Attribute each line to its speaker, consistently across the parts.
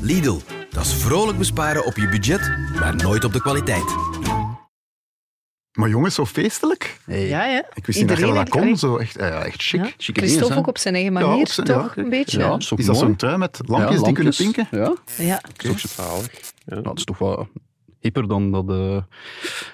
Speaker 1: Lidl, dat is vrolijk besparen op je budget, maar nooit op de kwaliteit.
Speaker 2: Maar jongens, zo feestelijk.
Speaker 3: Ja, ja.
Speaker 2: Ik wist niet dat je dat
Speaker 3: Iedereen-
Speaker 2: kon. Zo echt, eh, ja, echt chic.
Speaker 3: Ja.
Speaker 4: Chique dingen,
Speaker 3: Christophe
Speaker 4: hè?
Speaker 3: ook op zijn eigen
Speaker 2: Ja,
Speaker 3: manier,
Speaker 2: op zijn- ja,
Speaker 3: toch?
Speaker 2: kijk.
Speaker 3: een beetje.
Speaker 4: Ja,
Speaker 3: Ja,
Speaker 4: dat is ook
Speaker 2: Is dat
Speaker 4: mooi.
Speaker 2: zo'n tuin met lampjes,
Speaker 4: Ja,
Speaker 2: die kunnen
Speaker 4: lampjes.
Speaker 2: pinken?
Speaker 4: Ja,
Speaker 3: ja.
Speaker 5: Dat is ook zo zalig. Ja.
Speaker 4: Nou, dat is toch wel hipper dan dat eh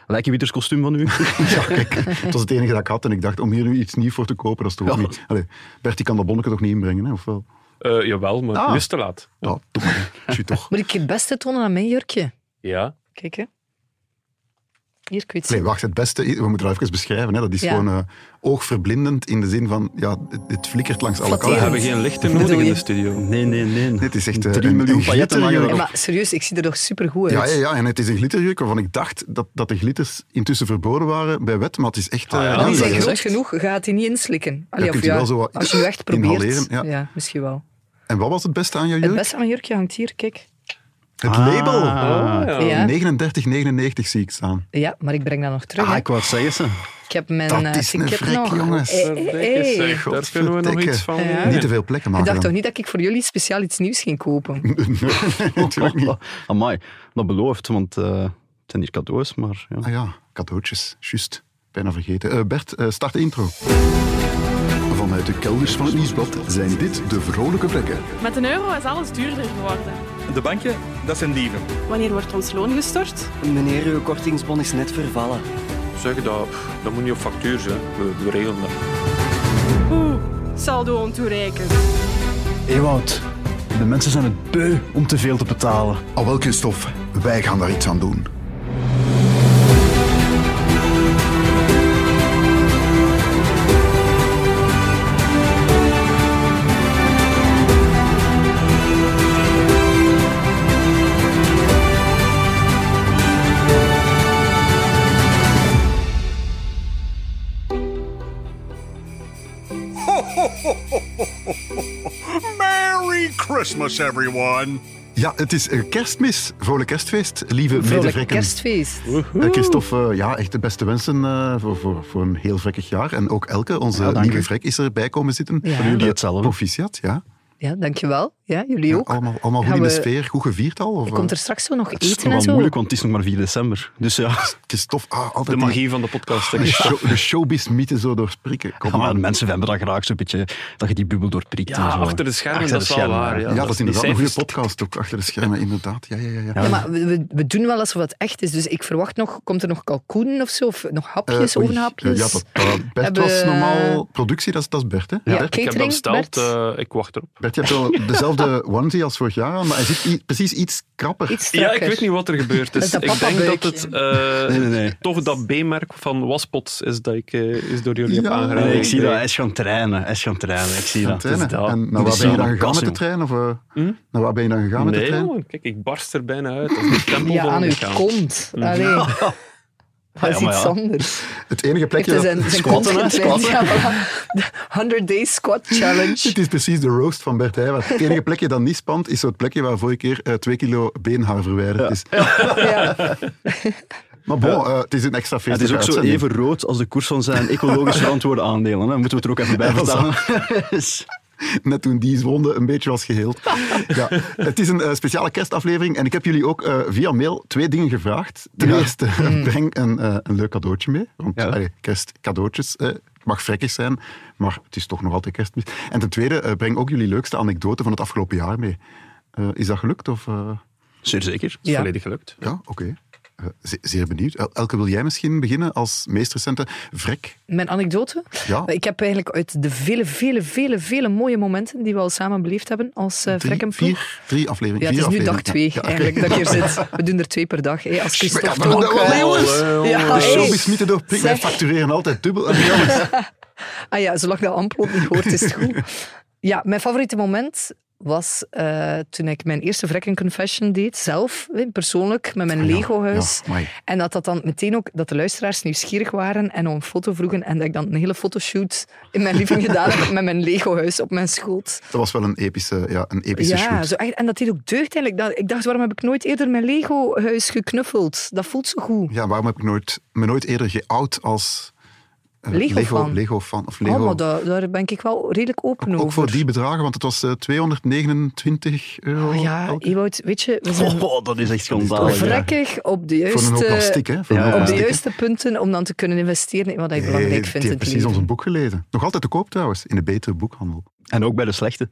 Speaker 4: lijkenwitters kostuum van u.
Speaker 2: Ja, kijk, het was het enige dat ik had. En ik dacht, om hier nu iets nieuws voor te kopen, dat is toch ook
Speaker 4: Ja.
Speaker 2: niet... Allee, Bert, die kan dat bonnetje toch niet inbrengen, hè? of wel?
Speaker 5: Eh, jawel, maar
Speaker 2: Ah.
Speaker 5: het is te laat.
Speaker 2: Ja, doe maar. Tjoe, toch.
Speaker 3: Moet ik het beste tonen aan mijn jurkje?
Speaker 5: Ja.
Speaker 3: Kijk, hè. Hier, kwits.
Speaker 2: Nee, wacht, het beste... is- We moeten dat even beschrijven. Hè. Dat is
Speaker 3: Ja.
Speaker 2: gewoon eh, oogverblindend in de zin van... Ja, het, het flikkert langs alle
Speaker 3: Flatterend.
Speaker 5: We
Speaker 2: kanten.
Speaker 5: hebben geen lichten
Speaker 3: Bedoel
Speaker 5: nodig in
Speaker 3: je?
Speaker 5: de studio.
Speaker 4: Nee, nee, nee.
Speaker 2: Dit is echt, eh,
Speaker 4: Drie
Speaker 2: een-
Speaker 4: miljoen
Speaker 2: een
Speaker 4: pailletten
Speaker 2: glitterjurk.
Speaker 4: hangen
Speaker 3: Ja,
Speaker 4: erop.
Speaker 3: maar serieus, ik zie er toch supergoed uit.
Speaker 2: Ja, ja, ja, en het is een glitterjurk waarvan ik dacht dat, dat de glitters intussen verboden waren bij wet, maar het is echt...
Speaker 4: Ah,
Speaker 2: eh,
Speaker 5: ja,
Speaker 3: Die
Speaker 5: dat
Speaker 2: dat
Speaker 3: zijn
Speaker 2: is
Speaker 3: groot
Speaker 2: echt-
Speaker 3: genoeg, gaat hij niet inslikken. Allee,
Speaker 2: Ja,
Speaker 3: of
Speaker 2: kunt u wel zo wat
Speaker 3: als je echt probeert.
Speaker 2: inhaleren, ja.
Speaker 3: misschien wel.
Speaker 2: En wat was het beste aan jouw
Speaker 3: Het
Speaker 2: jurk?
Speaker 3: beste aan mijn jurkje hangt hier, kijk.
Speaker 2: Het
Speaker 4: Ah.
Speaker 2: label!
Speaker 5: Ah,
Speaker 2: Oh,
Speaker 5: ja.
Speaker 3: Ja.
Speaker 2: 39,99 zie ik staan.
Speaker 3: Ja, maar ik breng dat nog terug.
Speaker 4: Ah,
Speaker 3: hè.
Speaker 4: ik wou het zeggen ze.
Speaker 3: Ik heb mijn...
Speaker 2: Dat
Speaker 3: eh,
Speaker 2: is een
Speaker 3: ik heb
Speaker 2: vrek,
Speaker 3: nog.
Speaker 2: jongens.
Speaker 3: Eh, eh,
Speaker 5: Verdikke
Speaker 3: eh.
Speaker 5: zeg, Daar kunnen we nog
Speaker 2: Godverdikke.
Speaker 5: iets van
Speaker 3: Ja.
Speaker 5: leren.
Speaker 2: Niet te veel plekken
Speaker 3: Ik
Speaker 2: maken.
Speaker 3: dacht toch
Speaker 2: dan.
Speaker 3: niet dat ik voor jullie speciaal iets nieuws ging kopen?
Speaker 2: Nee, natuurlijk niet.
Speaker 4: Amai, dat belooft, want eh, het zijn hier cadeaus, maar ja.
Speaker 2: Ah ja, cadeautjes. Juist. Bijna vergeten. Eh, Bert, eh, start de intro. Vanuit de kelders van het nieuwsblad zijn dit de vrolijke plekken.
Speaker 6: Met een euro is alles duurder geworden.
Speaker 7: De banken, dat zijn dieven.
Speaker 6: Wanneer wordt ons loon gestort?
Speaker 8: Meneer, uw kortingsbon is net vervallen.
Speaker 5: Zeg dat, pff, dat moet niet op factuur zijn. We, we regelen dat.
Speaker 6: Oeh, saldo ontoereikend.
Speaker 7: Ewout, de mensen zijn het beu om te veel te betalen.
Speaker 2: Al Oh, wel, Christophe, wij gaan daar iets aan doen.
Speaker 9: Merry Christmas, everyone!
Speaker 2: Ja, het is eh, kerstmis. Vrolijk kerstfeest, lieve
Speaker 3: Vrolijk
Speaker 2: medevrekken.
Speaker 3: kerstfeest.
Speaker 2: Eh, Christophe, eh, ja, echt de beste wensen eh, voor, voor, voor een heel vrekkig jaar. En ook Elke, onze
Speaker 4: dank
Speaker 2: nieuwe
Speaker 4: u.
Speaker 2: vrek, is erbij komen zitten.
Speaker 3: Ja.
Speaker 2: Voor jullie
Speaker 4: Jullie hetzelfde.
Speaker 2: Proficiat, ja.
Speaker 3: Ja, dankjewel. Ja, jullie ook.
Speaker 2: Allemaal, allemaal goed
Speaker 3: Gaan
Speaker 2: in de
Speaker 3: we-
Speaker 2: sfeer, goed gevierd al? Of,
Speaker 3: Komt
Speaker 2: eh,
Speaker 3: er straks zo nog
Speaker 4: Het is nog
Speaker 3: eten en
Speaker 4: wel
Speaker 3: zo?
Speaker 4: moeilijk, want het is nog maar 4 december. Dus ja,
Speaker 2: Christophe, ah, altijd
Speaker 5: De
Speaker 2: die-
Speaker 5: magie van de podcast. hè.
Speaker 2: De, show, de showbiz-mythe zo doorsprikken. Kom
Speaker 4: ja, maar
Speaker 2: aan.
Speaker 4: mensen hebben dat graag zo'n beetje, dat je die bubbel doorprikt
Speaker 5: Ja,
Speaker 4: en zo.
Speaker 5: achter de schermen,
Speaker 4: Achter
Speaker 5: dat
Speaker 4: de
Speaker 5: is wel
Speaker 4: schermen,
Speaker 5: waar, ja.
Speaker 2: Ja, dat is
Speaker 5: Die
Speaker 2: inderdaad een goede
Speaker 5: cijfers-
Speaker 2: podcast ook, achter de schermen, inderdaad. Ja, ja, ja. ja.
Speaker 3: Ja, maar we, we- we doen wel alsof het echt is. Dus ik verwacht nog, komt er nog kalkoenen of zo? Of nog hapjes,
Speaker 2: Eh, oei,
Speaker 3: ovenhapjes?
Speaker 2: Ja, dat, eh, Bert
Speaker 3: Hebben-
Speaker 2: was normaal... Productie, dat is, dat is Bert, hè?
Speaker 3: Ja,
Speaker 2: Bert,
Speaker 5: Ik heb
Speaker 3: catering,
Speaker 5: dat besteld,
Speaker 3: Bert?
Speaker 5: eh, ik wacht erop.
Speaker 2: Bert, je hebt wel dezelfde onesie als vorig jaar aan, maar hij zit i- precies iets krapper.
Speaker 3: Iets
Speaker 5: Ja, ik
Speaker 3: strakker.
Speaker 5: weet niet wat er gebeurd is.
Speaker 3: Dat is dat
Speaker 5: ik denk dat het eh,
Speaker 4: Nee, nee, nee.
Speaker 5: toch dat B-merk van Waspots is dat ik eh, is door jullie
Speaker 2: Ja.
Speaker 5: heb aangeraden.
Speaker 4: Nee, ik zie dat, hij is gaan trainen, hij is gaan trainen, ik zie
Speaker 2: Aan het
Speaker 4: dat.
Speaker 2: trainen.
Speaker 4: Het is dat.
Speaker 2: En naar
Speaker 4: Het
Speaker 2: waar
Speaker 4: is
Speaker 2: ben je dan
Speaker 4: zo'n
Speaker 2: gegaan met de
Speaker 4: passie,
Speaker 2: trein? Of, eh,
Speaker 5: Hm?
Speaker 2: Naar waar ben je dan gegaan met de
Speaker 5: Nee,
Speaker 2: trein?
Speaker 5: jongen, kijk, ik barst er bijna uit. Dat is de tempel
Speaker 3: Ja,
Speaker 5: van
Speaker 3: aan uw
Speaker 5: ondergaan.
Speaker 3: kont. Allee. Dat is
Speaker 4: Ja, maar
Speaker 3: iets
Speaker 4: ja.
Speaker 3: anders.
Speaker 2: Het enige
Speaker 3: Heeft
Speaker 2: plekje...
Speaker 3: hij
Speaker 2: dat-
Speaker 3: zijn, zijn
Speaker 4: squatten,
Speaker 3: kont
Speaker 4: hè,
Speaker 3: getraind?
Speaker 4: squatten.
Speaker 3: Ja, voilà. De 100 Day Squat Challenge.
Speaker 2: Dit is precies de roast van Bert Heijwaard. Het enige plekje dat niet spant, is zo het plekje waar vorige keer eh, twee kilo beenhaar verwijderd is.
Speaker 3: Ja.
Speaker 2: Maar bon, eh, het is een extra
Speaker 4: Ja, het
Speaker 2: feestelijke
Speaker 4: is ook zo
Speaker 2: uitzending.
Speaker 4: even rood als de koers van zijn ecologisch verantwoorde aandelen. Hè. Moeten we het er ook even bij Dus,
Speaker 2: Ja, dat is
Speaker 4: vertalen.
Speaker 2: net toen die zonde een beetje was geheeld. ja, het is een eh, speciale kerstaflevering en ik heb jullie ook eh, via mail twee dingen gevraagd. Ten eerste,
Speaker 3: Hmm.
Speaker 2: breng een, eh, een leuk cadeautje mee. Want
Speaker 4: Ja.
Speaker 2: allee, kerstcadeautjes, eh, het mag vrekkig zijn, maar het is toch nog altijd kerstmis. En ten tweede, eh, breng ook jullie leukste anekdote van het afgelopen jaar mee. Eh, is dat gelukt? Of, eh,
Speaker 4: Zeer zeker.
Speaker 5: Dat is
Speaker 3: Ja.
Speaker 5: volledig gelukt.
Speaker 2: ja, oké. Eh, ze- zeer benieuwd. El- Elke, wil jij misschien beginnen als meest recente vrek?
Speaker 3: Mijn anekdote?
Speaker 2: Ja.
Speaker 3: Ik heb eigenlijk uit de vele, vele, vele, vele mooie momenten die we al samen beleefd hebben als eh
Speaker 2: Drie,
Speaker 3: Frekkenploeg.
Speaker 2: vier, drie afleveringen.
Speaker 3: Ja, het
Speaker 2: vier
Speaker 3: is nu dag
Speaker 2: afleveringen.
Speaker 3: twee
Speaker 2: Ja, oké.
Speaker 3: eigenlijk dat ik hier zit. We doen er twee per dag. Hè, als
Speaker 2: Ja,
Speaker 3: Christophe
Speaker 2: maar dat
Speaker 3: ook... eh,
Speaker 2: wel, jongens.
Speaker 3: ja,
Speaker 2: De
Speaker 3: hey.
Speaker 2: showbiz niet te doorprikken. Wij
Speaker 3: Oh, Zeg.
Speaker 2: factureren altijd dubbel. En jongens,
Speaker 3: Ah ja, zolang dat Amplot niet hoort, is het goed. Ja, mijn favoriete moment was eh, toen ik mijn eerste Vrekken Confession deed, zelf, hè, persoonlijk, met mijn Lego-huis.
Speaker 2: Ah, Ja, amai.
Speaker 3: En dat dat dan meteen ook, dat de luisteraars nieuwsgierig waren en om een foto vroegen. En dat ik dan een hele fotoshoot in mijn living gedaan heb met mijn Lego-huis op mijn schoot.
Speaker 2: dat was wel een epische, ja, een epische
Speaker 3: Ja,
Speaker 2: shoot.
Speaker 3: zo, echt- en dat deed ook deugd eigenlijk. Dat, ik dacht, waarom heb ik nooit eerder mijn Lego-huis geknuffeld? Dat voelt zo goed.
Speaker 2: Ja, waarom heb ik nooit, me nooit eerder geout als eh,
Speaker 3: Lego fan.
Speaker 2: Lego fan. Of Lego.
Speaker 3: Oh, maar daar, daar ben ik wel redelijk open
Speaker 2: ook
Speaker 3: over.
Speaker 2: voor die bedragen, want het was eh, 229 euro.
Speaker 3: Oh ja,
Speaker 2: elk.
Speaker 3: Ewout, weet je, we zijn
Speaker 7: Oh, dat is echt schandalig. hè.
Speaker 3: vrekkig op de
Speaker 2: voor een hoop
Speaker 3: juiste,
Speaker 2: plastic, hè? Voor een
Speaker 7: ja,
Speaker 2: hoop
Speaker 3: op de
Speaker 2: plastic, hè.
Speaker 3: juiste punten om dan te kunnen investeren in wat ik belangrijk
Speaker 2: Nee,
Speaker 3: vind.
Speaker 2: Eh, Die
Speaker 3: in
Speaker 2: heeft
Speaker 3: het
Speaker 2: precies
Speaker 3: leven.
Speaker 2: ons boek gelezen. Nog altijd te koop trouwens, in de betere boekhandel.
Speaker 4: En ook bij de slechte.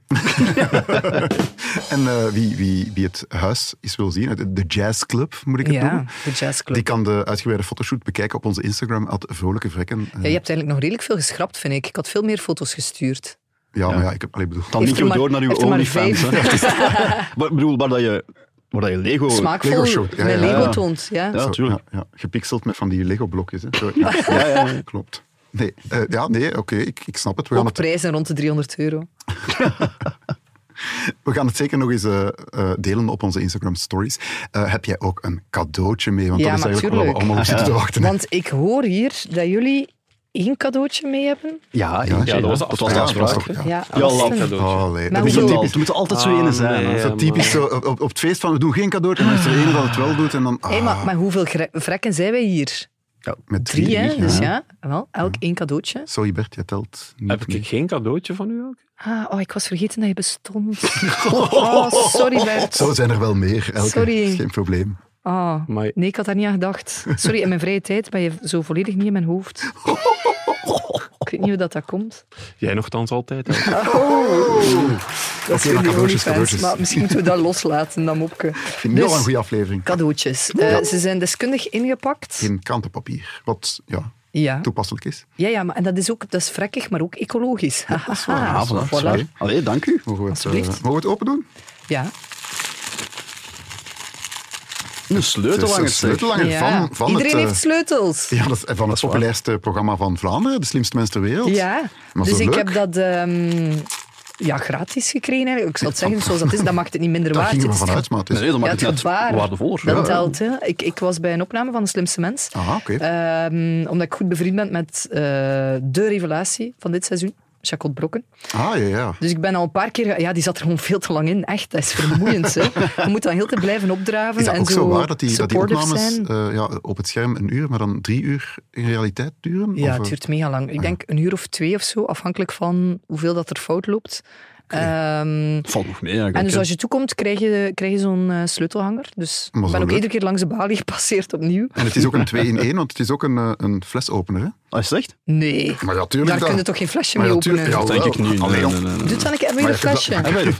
Speaker 2: En eh, wie, wie, wie het huis is wil zien, de- de Jazz Club moet ik het
Speaker 3: Ja,
Speaker 2: noemen.
Speaker 3: de jazzclub.
Speaker 2: Die kan de uitgebreide fotoshoot bekijken op onze Instagram, at vrolijke vrekken. Eh,
Speaker 3: Ja, je hebt eigenlijk nog redelijk veel geschrapt, vind ik. Ik had veel meer foto's
Speaker 2: Oh,
Speaker 3: gestuurd.
Speaker 2: ja, maar ja, ik heb, allee, ik bedoel,
Speaker 4: Dan
Speaker 3: Heeft
Speaker 4: niet
Speaker 3: er maar-
Speaker 4: door naar uw
Speaker 3: heeft er maar
Speaker 4: OnlyFans.
Speaker 3: vijf.
Speaker 4: hè. Het is- Maar Ik bedoel, waar dat je, waar dat je Lego...
Speaker 3: Smaakvol,
Speaker 2: Lego
Speaker 3: met
Speaker 2: show. Ja, ja,
Speaker 3: Lego
Speaker 4: ja.
Speaker 3: toont. Ja.
Speaker 4: Ja,
Speaker 2: Zo,
Speaker 4: tuurlijk.
Speaker 2: Ja, ja. Gepixeld met van die Lego-blokjes. Hè. Zo, ja, ja, ja, klopt. Nee, eh, ja, nee, oké, ik, ik snap het. We gaan
Speaker 3: Ook
Speaker 2: het,
Speaker 3: prijzen rond de 300 euro.
Speaker 2: we gaan het zeker nog eens eh, eh, delen op onze Instagram stories. Eh, heb jij ook een cadeautje mee? Want
Speaker 3: Ja,
Speaker 2: dat is
Speaker 3: maar
Speaker 2: eigenlijk waar we
Speaker 3: tuurlijk.
Speaker 2: allemaal op zitten te wachten.
Speaker 3: Want ik hoor hier dat jullie één cadeautje mee hebben.
Speaker 4: Ja,
Speaker 2: Ja,
Speaker 4: eentje,
Speaker 2: dat
Speaker 4: hè.
Speaker 5: was de
Speaker 4: dat
Speaker 5: afspraak.
Speaker 4: was de
Speaker 2: Ja, dat was
Speaker 4: afspraak.
Speaker 2: toch-
Speaker 4: hè.
Speaker 2: ja. Ah,
Speaker 3: Ja,
Speaker 4: Ja,
Speaker 3: wat is
Speaker 4: laat.
Speaker 3: het dan?
Speaker 2: Oh, nee.
Speaker 3: Maar
Speaker 2: dat is zo
Speaker 3: hoeveel-
Speaker 2: typisch.
Speaker 4: Het moeten altijd zo ene zijn. hè.
Speaker 2: Zo typisch, zo, op, op het feest van we doen geen cadeautje, maar is er één dat het wel doet en dan... Ah,
Speaker 3: Hé, maar, maar hoeveel gre- vrekken zijn wij hier?
Speaker 2: met
Speaker 3: Drie, hè?
Speaker 2: ja.
Speaker 3: Dus ja, wel, elk één cadeautje.
Speaker 2: Sorry Bert, je telt niet
Speaker 5: Heb
Speaker 2: mee.
Speaker 5: ik geen cadeautje van u ook?
Speaker 3: Ah, oh, ik was vergeten dat je bestond. Oh, sorry Bert.
Speaker 2: Zo zijn er wel meer, elke.
Speaker 3: Sorry.
Speaker 2: Is geen probleem.
Speaker 3: Oh,
Speaker 5: Maar
Speaker 3: nee, ik had daar niet aan gedacht. Sorry, in mijn vrije tijd ben je zo volledig niet in mijn hoofd. Ik weet niet hoe dat, dat komt.
Speaker 5: jij nogthans altijd. hè.
Speaker 3: Dat is
Speaker 2: Oké, maar
Speaker 3: voor de
Speaker 2: cadeautjes,
Speaker 3: OnlyFans,
Speaker 2: cadeautjes.
Speaker 3: maar misschien moeten we dat loslaten, dat mopje.
Speaker 2: Ik vind het
Speaker 3: Dus-
Speaker 2: wel een goede aflevering.
Speaker 3: Cadeautjes. Eh, Ze zijn deskundig ingepakt.
Speaker 2: Geen krantenpapier, wat ja,
Speaker 3: Ja.
Speaker 2: toepasselijk is.
Speaker 3: Ja, ja, maar en dat is ook dat is vrekkig, maar ook ecologisch. Dat is
Speaker 4: Ah, voilà.
Speaker 3: voilà.
Speaker 4: Sorry. Allee, dank u.
Speaker 2: Mogen we het, eh,
Speaker 3: Alsjeblieft.
Speaker 2: mogen we het open doen?
Speaker 3: Ja.
Speaker 4: Een
Speaker 2: Het is een
Speaker 4: sleutellanger, zeg.
Speaker 2: sleutellanger
Speaker 3: Ah, Ja.
Speaker 2: van, van
Speaker 3: Iedereen
Speaker 2: het... eh,
Speaker 3: heeft sleutels.
Speaker 2: ja, dat is van het populairste programma van Vlaanderen, de slimste mens ter wereld.
Speaker 3: Ja,
Speaker 2: Maar
Speaker 3: dus
Speaker 2: zo
Speaker 3: ik
Speaker 2: leuk.
Speaker 3: heb dat ehm, ja, gratis gekregen eigenlijk. Ik zal het zeggen, zoals dat is, dat maakt het niet minder
Speaker 2: Daar
Speaker 3: waard.
Speaker 2: gingen we
Speaker 3: Het is
Speaker 2: vanuit, maar het is...
Speaker 4: Nee, dat
Speaker 3: Ja,
Speaker 4: maakt
Speaker 3: het is
Speaker 4: het
Speaker 3: waar.
Speaker 4: waardevoller.
Speaker 3: Dat
Speaker 4: Ja.
Speaker 3: telt, hè. Ik, ik was bij een opname van De Slimste Mens.
Speaker 2: Aha, Ah, oké.
Speaker 3: Ehm, omdat ik goed bevriend ben met eh, de revelatie van dit seizoen, Jacot Brokken.
Speaker 2: Ah, ja, ja.
Speaker 3: Dus ik ben al een paar keer... ge- Ja, die zat er gewoon veel te lang in. Echt, dat is vermoeiend. hè. Je moet dan heel te blijven opdraven.
Speaker 2: Is dat
Speaker 3: en
Speaker 2: ook zo waar, dat die, dat die
Speaker 3: supportive
Speaker 2: opnames
Speaker 3: zijn.
Speaker 2: eh, ja, op het scherm een uur, maar dan drie uur in realiteit duren?
Speaker 3: Ja,
Speaker 2: Of,
Speaker 3: het
Speaker 2: eh,
Speaker 3: duurt mega lang. Ik denk een uur of twee of zo, afhankelijk van hoeveel dat er fout loopt. Ehm,
Speaker 4: Valt nog mee eigenlijk.
Speaker 3: en dus
Speaker 4: hè.
Speaker 3: als je toekomt, krijg je, krijg je zo'n eh, sleutelhanger. Dus
Speaker 2: Maar
Speaker 3: ik
Speaker 2: zo
Speaker 3: ben ook
Speaker 2: leuk.
Speaker 3: iedere keer langs de balie gepasseerd opnieuw.
Speaker 2: En het is ook een 2 in 1, want het is ook een, eh, een flesopener. Hè?
Speaker 4: Ah, is het echt?
Speaker 3: Nee,
Speaker 2: Maar ja, tuurlijk.
Speaker 3: daar
Speaker 2: dat-
Speaker 3: kun je toch geen flesje
Speaker 2: Maar
Speaker 3: mee
Speaker 2: ja, tuurlijk,
Speaker 3: openen?
Speaker 2: ja.
Speaker 4: Dat denk ik
Speaker 2: wel.
Speaker 4: niet.
Speaker 2: Allee,
Speaker 4: Nee,
Speaker 2: joh.
Speaker 4: nee, nee, nee.
Speaker 3: Doet dan een keer, hebben jullie
Speaker 2: Maar je hebt
Speaker 3: een flesje?
Speaker 4: En bij de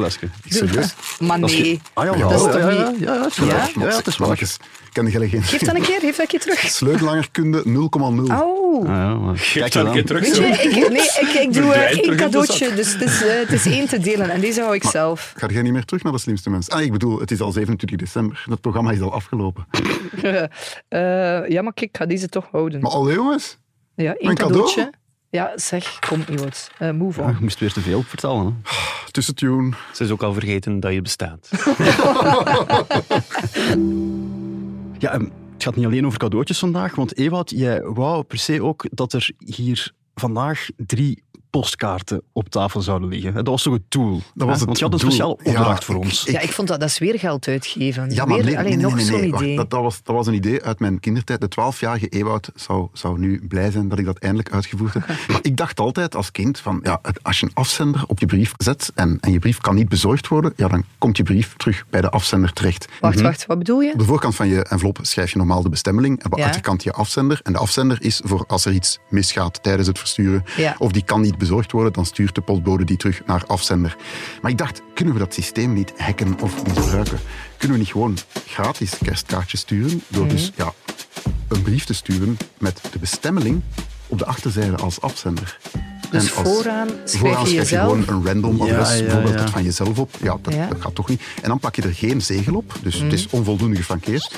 Speaker 4: flesje.
Speaker 2: Serieus?
Speaker 3: Maar nee.
Speaker 4: Ah ja,
Speaker 2: Ja,
Speaker 4: dat is
Speaker 3: dat is
Speaker 4: toch
Speaker 3: toch
Speaker 4: niet...
Speaker 3: niet-
Speaker 4: Ja, ja, het is waar.
Speaker 3: Ja?
Speaker 4: Ja, het is waar.
Speaker 2: Mannetjes, ken je geen...
Speaker 3: Geef dan een keer, geef dat Oh. een keer terug.
Speaker 2: Sleutelangerkunde 0,0.
Speaker 3: Au.
Speaker 4: Ah, ja, maar
Speaker 5: Geef dat
Speaker 4: Kijk dan.
Speaker 5: een keer terug.
Speaker 3: Weet
Speaker 5: zo.
Speaker 3: je, ik, nee, ik, ik doe eh,
Speaker 5: Verdwijnt terug in
Speaker 3: één
Speaker 5: de
Speaker 3: cadeautje,
Speaker 5: zak.
Speaker 3: dus het is, eh, het is één te delen. En deze hou ik zelf.
Speaker 2: Ga jij niet meer terug naar de slimste mens? Ah, ik bedoel, het is al 27 december. Dat programma is al afgelopen.
Speaker 3: Eh, ja, maar kijk, ik ga deze toch houden.
Speaker 2: Maar alle jongens,
Speaker 3: Ja, één
Speaker 2: Mijn cadeau? Ah,
Speaker 3: cadeautje. Ja, zeg, kom, Iwout. Eh, move
Speaker 4: Ja,
Speaker 3: on.
Speaker 4: ik Ah, moest weer te veel vertellen. Hè.
Speaker 2: tussen tune.
Speaker 5: Ze is ook al vergeten dat je bestaat.
Speaker 4: Ja, en het gaat niet alleen over cadeautjes vandaag, want Ewout, jij wou per se ook dat er hier vandaag drie postkaarten op tafel zouden liggen. Dat was toch het doel? hè?
Speaker 2: was het
Speaker 4: want je had een
Speaker 2: doel.
Speaker 4: speciaal
Speaker 2: Ja,
Speaker 4: opdracht voor
Speaker 2: ik-
Speaker 4: ons.
Speaker 3: Ja, ik vond dat, dat is weer geld uitgeven.
Speaker 2: Ja, maar
Speaker 3: weer,
Speaker 2: nee,
Speaker 3: allee,
Speaker 2: nee, nee,
Speaker 3: nog
Speaker 2: nee,
Speaker 3: zo'n
Speaker 2: nee, wacht,
Speaker 3: idee.
Speaker 2: dat, dat, was, dat was een idee uit mijn kindertijd. De 12-jarige Ewout zou, zou nu blij zijn dat ik dat eindelijk uitgevoerd heb. maar ik dacht altijd als kind: van, ja, het- als je een afzender op je brief zet en, en je brief kan niet bezorgd worden, ja, dan komt je brief terug bij de afzender terecht.
Speaker 3: Wacht, wacht, wat bedoel je?
Speaker 2: Op de voorkant van je envelop schrijf je normaal de bestemming en op de
Speaker 3: Ja.
Speaker 2: achterkant je afzender. En de afzender is voor als er iets misgaat tijdens het versturen
Speaker 3: Ja.
Speaker 2: of die kan niet bezorgd worden, dan stuurt de postbode die terug naar afzender. Maar ik dacht, kunnen we dat systeem niet hacken of misbruiken? Kunnen we niet gewoon gratis kerstkaartjes sturen door
Speaker 3: Mhm.
Speaker 2: dus ja, een brief te sturen met de bestemming op de achterzijde als afzender?
Speaker 3: Dus
Speaker 2: En als-
Speaker 3: vooraan schrijf
Speaker 2: vooraan
Speaker 3: je
Speaker 2: schrijf je
Speaker 3: jezelf?
Speaker 2: gewoon een random adres,
Speaker 4: ja,
Speaker 2: bijvoorbeeld
Speaker 4: ja.
Speaker 2: dat van jezelf op. Ja, dat,
Speaker 3: Ja. Mm.
Speaker 2: dat gaat toch niet. En dan pak je er geen zegel op, dus het is onvoldoende gefrankeerd.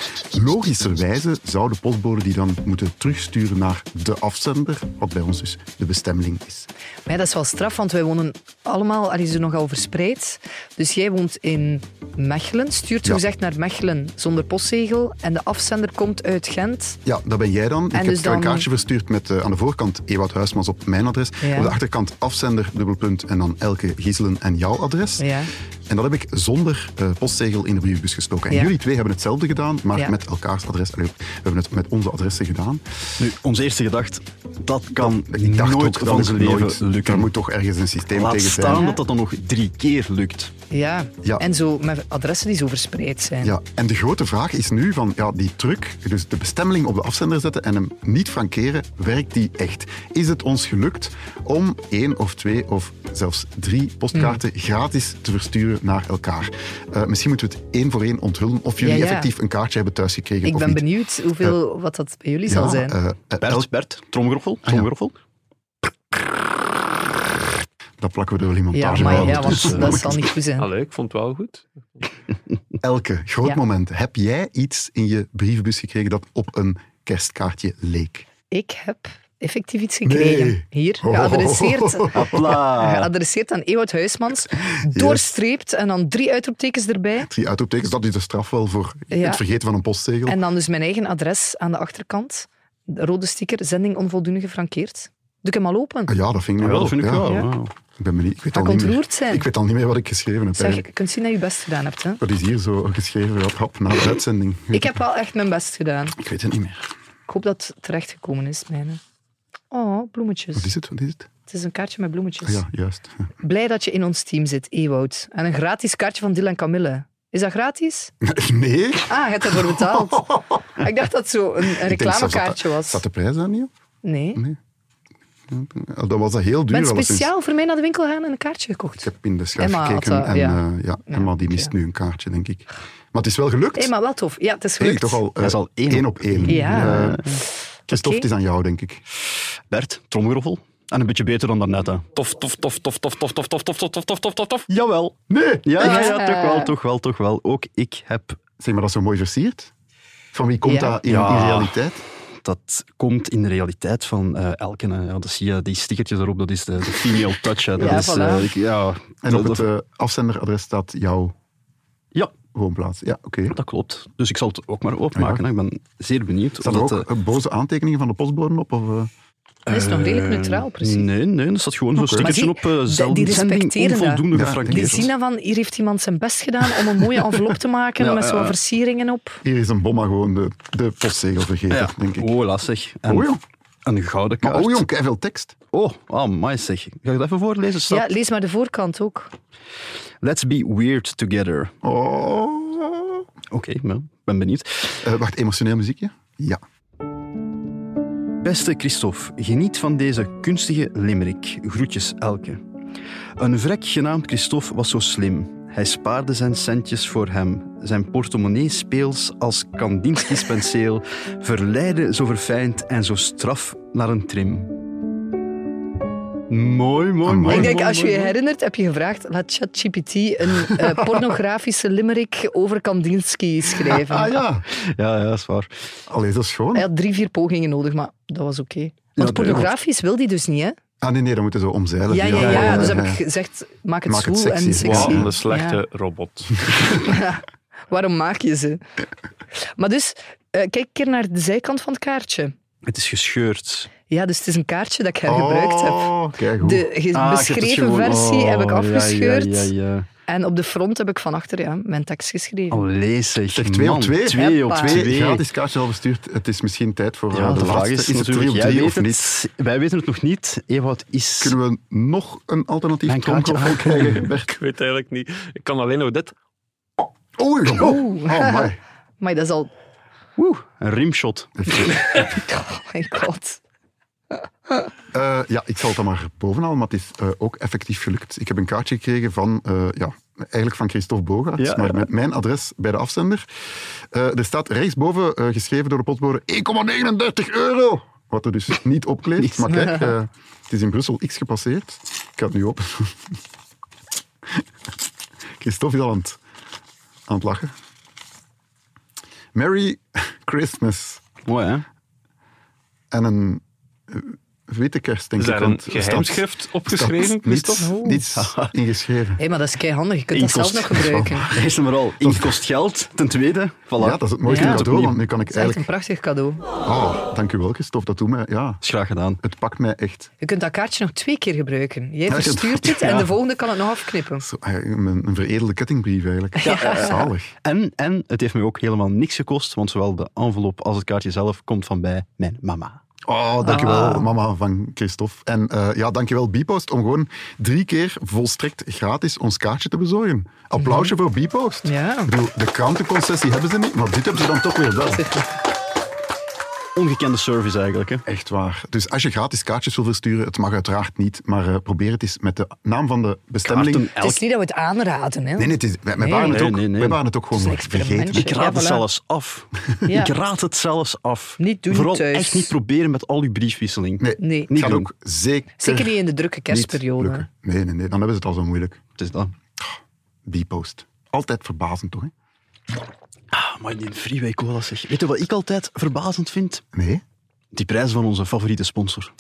Speaker 2: Logischerwijze zou de postbode die dan moeten terugsturen naar de afzender, wat bij ons dus de bestemming is.
Speaker 3: Maar ja, dat is wel straf, want wij wonen allemaal, al is er nogal verspreid. Dus jij woont in Mechelen, stuurt
Speaker 2: Ja.
Speaker 3: zogezegd naar Mechelen zonder postzegel. En de afzender komt uit Gent.
Speaker 2: Ja, dat ben jij dan. ik heb
Speaker 3: dus
Speaker 2: een
Speaker 3: dan-
Speaker 2: kaartje verstuurd met eh, aan de voorkant Ewout Huismans op mijn adres,
Speaker 3: Ja.
Speaker 2: op de achterkant afzender, dubbelpunt, en dan Elke Gieselen en jouw adres.
Speaker 3: Ja.
Speaker 2: En dat heb ik zonder eh, postzegel in de brievenbus gestoken. En
Speaker 3: Ja.
Speaker 2: jullie twee hebben hetzelfde gedaan, maar
Speaker 3: Ja.
Speaker 2: met elkaars adres. Allee, we hebben het met onze adressen gedaan.
Speaker 4: Nu, onze eerste gedacht, dat kan
Speaker 2: ik dacht
Speaker 4: nooit
Speaker 2: ook, dat
Speaker 4: van
Speaker 2: is
Speaker 4: zijn
Speaker 2: het
Speaker 4: leven
Speaker 2: nooit.
Speaker 4: lukken.
Speaker 2: Er moet toch ergens een systeem
Speaker 4: Laat
Speaker 2: tegen
Speaker 4: staan
Speaker 2: zijn.
Speaker 4: dat dat dan nog drie keer lukt.
Speaker 3: Ja.
Speaker 2: Ja.
Speaker 3: en zo met adressen die zo verspreid zijn.
Speaker 2: Ja, en de grote vraag is nu van ja, die truc, dus de bestemming op de afzender zetten en hem niet frankeren, werkt die echt? Is het ons gelukt om één of twee of zelfs drie
Speaker 4: Hmm.
Speaker 2: postkaarten gratis te versturen naar elkaar? Eh, misschien moeten we het één voor één onthullen of jullie
Speaker 3: Ja, ja.
Speaker 2: effectief een kaartje hebben thuisgekregen
Speaker 3: Ik
Speaker 2: of
Speaker 3: ben
Speaker 2: niet. Eh,
Speaker 3: benieuwd hoeveel, wat dat bij jullie zal
Speaker 2: Ja,
Speaker 3: zijn.
Speaker 2: eh, eh, elk- Ah,
Speaker 4: Bert, Bert, tromgeroffel, tromgeroffel.
Speaker 2: dat plakken we door die
Speaker 3: ja,
Speaker 2: montage
Speaker 3: maar
Speaker 2: wel.
Speaker 3: ja, want
Speaker 2: Dus, eh,
Speaker 3: dat zal niet goed zijn.
Speaker 5: Allee, ik vond het wel goed.
Speaker 2: Elke, groot
Speaker 3: Ja.
Speaker 2: moment. Heb jij iets in je brievenbus gekregen dat op een kerstkaartje leek?
Speaker 3: Ik heb effectief iets gekregen.
Speaker 2: Nee. Oh.
Speaker 3: Hier, geadresseerd,
Speaker 4: Hopla.
Speaker 3: geadresseerd aan Ewout Huismans. Doorstreept en dan drie uitroeptekens erbij.
Speaker 2: Drie uitroeptekens, dat is de straf wel voor
Speaker 3: Ja.
Speaker 2: het vergeten van een postzegel.
Speaker 3: En dan dus mijn eigen adres aan de achterkant. De rode sticker, zending onvoldoende gefrankeerd. Doe ik hem al open?
Speaker 2: Ah, ja, dat vind ik nu
Speaker 4: Ja,
Speaker 2: wel.
Speaker 4: dat vind ik
Speaker 2: Ja.
Speaker 4: wel.
Speaker 3: Ja.
Speaker 4: wauw.
Speaker 2: Ik ben benieuwd. Ik weet,
Speaker 3: Ga
Speaker 2: al
Speaker 3: ik
Speaker 2: niet meer,
Speaker 3: ontroerd zijn?
Speaker 2: ik weet al niet meer wat ik geschreven heb.
Speaker 3: Zeg,
Speaker 2: eigenlijk.
Speaker 3: je kunt zien dat je je best gedaan hebt. Hè?
Speaker 2: Dat is hier zo geschreven, hap, hap, na de uitzending.
Speaker 3: Ik heb wel echt mijn best gedaan.
Speaker 2: Ik weet het niet meer.
Speaker 3: Ik hoop dat het terechtgekomen is, mijne. Oh, bloemetjes.
Speaker 2: Wat is het? Wat is het?
Speaker 3: Het is een kaartje met bloemetjes.
Speaker 2: Ah, ja, juist. Ja.
Speaker 3: Blij dat je in ons team zit, Ewout. En een gratis kaartje van Dylan Camille. Is dat gratis?
Speaker 2: Nee?
Speaker 3: Ah, je hebt ervoor betaald. ik dacht dat het zo een, een
Speaker 2: Ik denk zelfs dat
Speaker 3: reclamekaartje
Speaker 2: dat-
Speaker 3: was.
Speaker 2: Staat de prijs daar niet op?
Speaker 3: Nee. Ik
Speaker 2: Ja, Dat was dat heel duur.
Speaker 3: ben
Speaker 2: alleszins.
Speaker 3: speciaal voor mij naar de winkel gaan en een kaartje gekocht.
Speaker 2: Ik heb in de schijf
Speaker 3: Emma had
Speaker 2: gekeken
Speaker 3: dat,
Speaker 2: en
Speaker 3: ja.
Speaker 2: eh, ja,
Speaker 3: Ja,
Speaker 2: Emma die
Speaker 3: oké.
Speaker 2: mist nu een kaartje, denk ik. Maar het is wel gelukt.
Speaker 3: Hé, maar wel tof. Ja, het is
Speaker 2: Hey,
Speaker 3: gelukt.
Speaker 2: toch al, eh,
Speaker 4: Dat is al één
Speaker 2: één
Speaker 4: op
Speaker 2: op één.
Speaker 3: Ja.
Speaker 2: Eh, Christophe, het is aan jou, denk ik.
Speaker 4: Bert, tromgeroffel. En een beetje beter dan daarnet, hè.
Speaker 5: Tof, tof, tof, tof, tof, tof, tof, tof, tof, tof, tof, tof, tof, tof, tof.
Speaker 4: Jawel. Nee. Ja, ja, ja,
Speaker 3: Ja.
Speaker 4: toch wel, toch wel, toch wel. Ook ik heb...
Speaker 2: Zeg maar, dat is zo mooi versierd. Van wie komt
Speaker 3: Ja.
Speaker 2: dat in,
Speaker 4: Ja.
Speaker 2: in realiteit?
Speaker 4: Dat komt in de realiteit van eh elke... eh, ja, dat zie je, die stickertjes daarop, dat is de, de female touch. Hè. Dat
Speaker 3: Ja,
Speaker 4: is,
Speaker 3: voilà.
Speaker 4: eh, ik- ja,
Speaker 2: En
Speaker 4: dat-
Speaker 2: op het
Speaker 4: dat-
Speaker 2: eh, afzenderadres staat jouw
Speaker 4: Ja,
Speaker 2: woonplaats. Ja, oké.
Speaker 4: dat klopt. Dus ik zal het ook maar openmaken. hè. Ik ben zeer benieuwd.
Speaker 2: Staan er
Speaker 4: omdat,
Speaker 2: ook
Speaker 4: eh,
Speaker 2: eh, boze aantekeningen van de postbode op? Of, eh?
Speaker 3: Dat is nog redelijk neutraal, precies.
Speaker 4: Eh, Nee, nee, er staat gewoon zo'n stickertje
Speaker 3: Maar
Speaker 4: op.
Speaker 3: zie,
Speaker 4: eh,
Speaker 3: de-
Speaker 4: zelden
Speaker 3: die
Speaker 4: zending
Speaker 3: respecteren dat.
Speaker 4: onvoldoende
Speaker 2: Ja,
Speaker 3: Die
Speaker 4: gefragmenteerd.
Speaker 3: zien dan van, hier heeft iemand zijn best gedaan om een mooie envelop te maken
Speaker 4: Ja,
Speaker 3: met
Speaker 4: ja,
Speaker 3: zo'n
Speaker 4: ja.
Speaker 3: versieringen op.
Speaker 2: Hier is een bomma gewoon de, de postzegel vergeten,
Speaker 4: Ja,
Speaker 2: denk ik.
Speaker 4: oh, lastig. En
Speaker 2: Oh, jong.
Speaker 4: Een gouden
Speaker 2: Maar
Speaker 4: kaart.
Speaker 2: oh jong, veel tekst.
Speaker 4: Oh, amai zeg. Ga ik dat even voorlezen? Stap?
Speaker 3: Ja, lees maar de voorkant ook.
Speaker 4: Let's be weird together.
Speaker 2: Oh.
Speaker 4: Oké, nou, ik ben benieuwd.
Speaker 2: Eh, wacht, emotioneel muziekje? Ja.
Speaker 4: Beste Christophe, geniet van deze kunstige limerick. Groetjes elke. Een vrek genaamd Christophe was zo slim. Hij spaarde zijn centjes voor hem. Zijn portemonnee speels als Kandinsky's penseel. Verleidde zo verfijnd en zo straf naar een trim. Mooi, mooi, mooi.
Speaker 2: Amai.
Speaker 3: Ik denk,
Speaker 4: mooi,
Speaker 3: als je
Speaker 4: mooi,
Speaker 3: je
Speaker 4: mooi.
Speaker 3: herinnert, heb je gevraagd, laat ChatGPT een eh, pornografische limerick over Kandinsky schrijven.
Speaker 2: Ah
Speaker 3: Hij
Speaker 2: ja.
Speaker 4: Ja, ja, dat is waar.
Speaker 2: Allee, dat is schoon.
Speaker 3: had drie, vier pogingen nodig, maar dat was oké. Want
Speaker 4: nee,
Speaker 3: pornografisch wil die dus niet, hè?
Speaker 2: Ah nee, nee, dan moeten ze omzeilen.
Speaker 3: Ja, ja, ja.
Speaker 2: ja,
Speaker 3: Dus heb
Speaker 2: ja.
Speaker 3: ik gezegd, maak het
Speaker 2: Maak het
Speaker 3: zwoel en
Speaker 2: sexy.
Speaker 3: sexy.
Speaker 5: Wat
Speaker 2: zie-
Speaker 5: een slechte robot.
Speaker 3: Waarom maak je ze? Maar dus, eh, kijk een keer naar de zijkant van het kaartje.
Speaker 4: Het is gescheurd.
Speaker 3: Ja, dus het is een kaartje dat ik hergebruikt heb.
Speaker 2: Oh, kijk goed.
Speaker 3: De ge-
Speaker 4: Ah, ik heb het
Speaker 3: beschreven
Speaker 4: gewoon-
Speaker 3: versie heb ik
Speaker 4: Oh,
Speaker 3: afgescheurd.
Speaker 4: Ja, ja, ja, ja.
Speaker 3: En op de front heb ik van achter ja, mijn tekst geschreven.
Speaker 4: Allee, zeg,
Speaker 2: Zeg, twee
Speaker 4: man.
Speaker 2: op twee.
Speaker 4: Twee op
Speaker 3: Heppa.
Speaker 2: Twee,
Speaker 4: twee.
Speaker 2: gratis kaartje al verstuurd. Het is misschien tijd voor eh,
Speaker 4: Ja, de vraag
Speaker 2: laatste.
Speaker 4: is,
Speaker 2: het drie
Speaker 4: natuurlijk,
Speaker 2: op
Speaker 4: jij
Speaker 2: drie
Speaker 4: weet
Speaker 2: of
Speaker 4: het,
Speaker 2: niet?
Speaker 4: wij weten het nog niet. Ewout is...
Speaker 2: Kunnen we nog een alternatief
Speaker 4: Mijn kaartje
Speaker 2: tromkoffel krijgen, Bert?
Speaker 5: Ik weet eigenlijk niet. Ik kan alleen nog dit.
Speaker 2: Oei, jong.
Speaker 3: Oeh.
Speaker 2: Oh, my.
Speaker 3: Maar dat is al...
Speaker 4: Oeh, een rimshot.
Speaker 3: Oh my god.
Speaker 2: Eh, ja, ik zal het dan maar bovenal, maar het is eh, ook effectief gelukt. Ik heb een kaartje gekregen van, eh, ja, eigenlijk van Christophe Bogaerts,
Speaker 4: Ja,
Speaker 2: maar
Speaker 4: ja.
Speaker 2: met mijn adres bij de afzender. Eh, er staat rechtsboven, eh, geschreven door de postbode, 1,39 euro! Wat er dus niet opkleedt. Maar kijk, eh, het is in Brussel X gepasseerd. Ik ga het nu open. Christophe is al aan het, aan het lachen. Merry Christmas.
Speaker 4: Mooi, hè?
Speaker 2: En een witte kerst, denk
Speaker 5: Is
Speaker 2: ik.
Speaker 5: daar een
Speaker 2: want staat-
Speaker 5: geheimschrift opgeschreven,
Speaker 2: staat niets,
Speaker 5: Christophe?
Speaker 2: niets ingeschreven.
Speaker 3: Hé, maar dat is keihandig. Je kunt dat zelf
Speaker 2: Inkost.
Speaker 3: nog gebruiken.
Speaker 2: Voilà.
Speaker 4: Eerst en vooral, inkt kost geld. Ten tweede, voilà.
Speaker 2: Ja, dat is het mooiste
Speaker 3: Ja.
Speaker 2: cadeau, want nu kan ik
Speaker 3: Dat is echt een
Speaker 2: eigenlijk...
Speaker 3: prachtig cadeau.
Speaker 2: Oh, dank u wel, Christophe. Dat doet mij... Ja,
Speaker 4: is graag gedaan.
Speaker 2: het pakt mij echt.
Speaker 3: Je kunt dat kaartje nog twee keer gebruiken. Jij
Speaker 2: Ja, ik-
Speaker 3: verstuurt het en
Speaker 2: ja.
Speaker 3: de volgende kan het nog afknippen.
Speaker 2: Zo, eigenlijk een, een veredelde kettingbrief, eigenlijk. Ja. Zalig.
Speaker 4: En, en het heeft mij ook helemaal niks gekost, want zowel de envelop als het kaartje zelf komt van bij mijn mama.
Speaker 2: Oh, dankjewel,
Speaker 3: Ah.
Speaker 2: mama van Christophe. En eh ja, dankjewel, Bipost, om gewoon drie keer volstrekt gratis ons kaartje te bezorgen. Applausje voor Bipost.
Speaker 3: Ja.
Speaker 2: Ik bedoel, de krantenconcessie hebben ze niet, maar dit hebben ze dan toch weer wel.
Speaker 4: Ongekende service eigenlijk, hè.
Speaker 2: Echt waar. Dus als je gratis kaartjes wil versturen, het mag uiteraard niet, maar eh, probeer het eens met de naam van de bestemming.
Speaker 4: Kaarten
Speaker 3: Het
Speaker 4: elk.
Speaker 3: is niet dat we het aanraden. Hè.
Speaker 2: Nee, nee, het is, wij, wij
Speaker 3: Nee.
Speaker 2: waren het
Speaker 4: Nee,
Speaker 2: ook,
Speaker 4: nee, nee.
Speaker 2: wij waren het ook gewoon
Speaker 3: Het is een
Speaker 2: vergeten.
Speaker 3: experimentje.
Speaker 4: Ik raad
Speaker 3: Ja,
Speaker 4: het
Speaker 3: voilà.
Speaker 4: zelfs af.
Speaker 3: Ja.
Speaker 4: Ik raad het zelfs af.
Speaker 3: Niet doen
Speaker 4: Vooral
Speaker 3: thuis.
Speaker 4: echt niet proberen met al uw briefwisseling.
Speaker 2: Nee,
Speaker 3: Nee.
Speaker 2: het gaat
Speaker 4: doen.
Speaker 2: ook zeker,
Speaker 3: Zeker niet in de drukke kerstperiode.
Speaker 2: niet lukken. Nee, nee, nee, dan hebben ze het al zo moeilijk.
Speaker 4: Het is dat.
Speaker 2: Bipost. Altijd verbazend, toch? Hè?
Speaker 4: Ah, maar die freeway cola zeg. Weet je wat ik altijd verbazend vind?
Speaker 2: Nee?
Speaker 4: Die prijs van onze favoriete sponsor.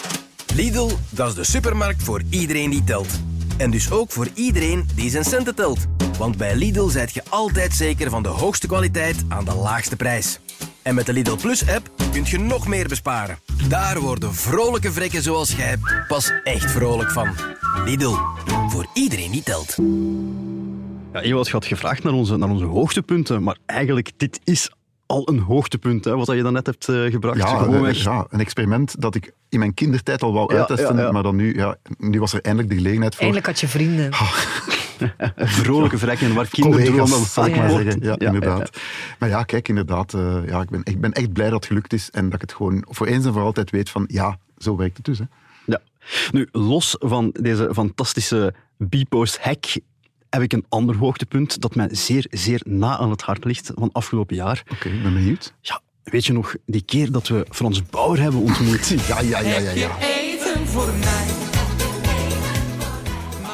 Speaker 1: Lidl, dat is de supermarkt voor iedereen die telt. En dus ook voor iedereen die zijn centen telt. Want bij Lidl zijt je altijd zeker van de hoogste kwaliteit aan de laagste prijs. En met de Lidl Plus-app kunt je nog meer besparen. Daar worden vrolijke vrekken zoals jij pas echt vrolijk van. Lidl, voor iedereen die telt.
Speaker 4: Ja, Ewald, je had gevraagd naar onze, naar onze hoogtepunten, maar eigenlijk, dit is al een hoogtepunt, hè, wat dat je dan net hebt eh, gebracht.
Speaker 2: Ja,
Speaker 4: Gewoon
Speaker 2: eh,
Speaker 4: weg.
Speaker 2: ja, een experiment dat ik in mijn kindertijd al wou
Speaker 4: Ja,
Speaker 2: uittesten,
Speaker 4: ja, ja.
Speaker 2: maar dan nu, ja, nu was er eindelijk de gelegenheid voor.
Speaker 3: Eindelijk had je vrienden.
Speaker 4: Oh, Vrolijke vrekken waar kinderdromen
Speaker 2: collega's, zal ik
Speaker 3: Ja.
Speaker 2: maar
Speaker 4: worden.
Speaker 2: zeggen. Ja, inderdaad. Maar ja, kijk, inderdaad, eh, ja, ik, ben, ik ben echt blij dat het gelukt is en dat ik het gewoon voor eens en voor altijd weet van, ja, zo werkt het dus. Hè.
Speaker 4: Ja. Nu, los van deze fantastische B-post-hack heb ik een ander hoogtepunt dat mij zeer, zeer na aan het hart ligt van afgelopen jaar.
Speaker 2: Oké, ik ben benieuwd.
Speaker 4: Ja, weet je nog, die keer dat we Frans Bauer hebben ontmoet?
Speaker 2: Ja, ja, ja, ja.
Speaker 3: Eh,
Speaker 2: ja.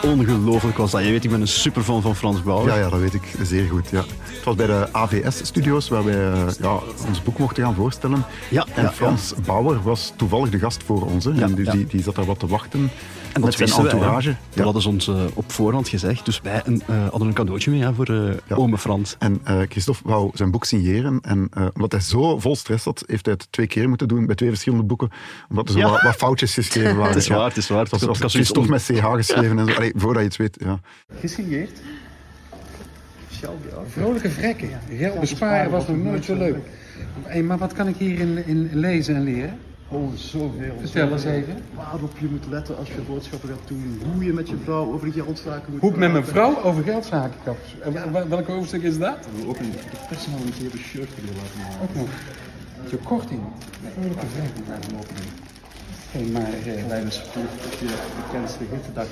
Speaker 4: Ongelooflijk was dat. Je weet, ik ben een superfan van Frans Bauer.
Speaker 2: Ja, ja, dat weet ik zeer goed. Ja. Het was bij de AVS-studio's waar wij eh, ja, ons boek mochten gaan voorstellen.
Speaker 4: Ja,
Speaker 2: en
Speaker 4: ja,
Speaker 2: Frans Bauer was toevallig de gast voor ons. Hè. En dus
Speaker 4: ja.
Speaker 2: die, die zat daar wat te wachten
Speaker 4: En
Speaker 2: met
Speaker 4: dat
Speaker 2: zijn
Speaker 4: wisten wij, hè.
Speaker 2: entourage.
Speaker 4: Dat hadden ze ons eh, op voorhand gezegd. Dus wij een, eh, hadden een cadeautje mee hè, voor eh ome Frans.
Speaker 2: En eh, Christophe wou zijn boek signeren. En eh, omdat hij zo vol stress had, heeft hij het twee keer moeten doen bij twee verschillende boeken. Omdat er zo
Speaker 4: Ja.
Speaker 2: wat, wat foutjes geschreven waren.
Speaker 4: Het is
Speaker 2: Ja.
Speaker 4: waar, het is waar.
Speaker 2: Het was,
Speaker 4: Ik
Speaker 2: was
Speaker 4: had zoiets
Speaker 2: Christophe
Speaker 4: om-
Speaker 2: met CH geschreven. En zo. Allee, voordat je het weet. Ja.
Speaker 10: Gesigneerd. Vrolijke vrekken. Geld besparen was nog nooit zo leuk. Hey, maar wat kan ik hierin in lezen en leren?
Speaker 7: Oh, zoveel.
Speaker 10: Vertel eens even.
Speaker 7: Waarop je moet letten als je boodschappen gaat doen. Hoe je met je vrouw over geldzaken moet
Speaker 10: Hoe ik met mijn
Speaker 7: praten.
Speaker 10: vrouw over geldzaken kan. En wa- wa- welk hoofdstuk is dat?
Speaker 7: Ook een gepersonaliseerde shirt kunnen laten maken.
Speaker 10: Ook nog. Zo kort in. Vrolijke vrekken. Hé, maar eh,
Speaker 7: Kleine sport op je bekendste hittedag.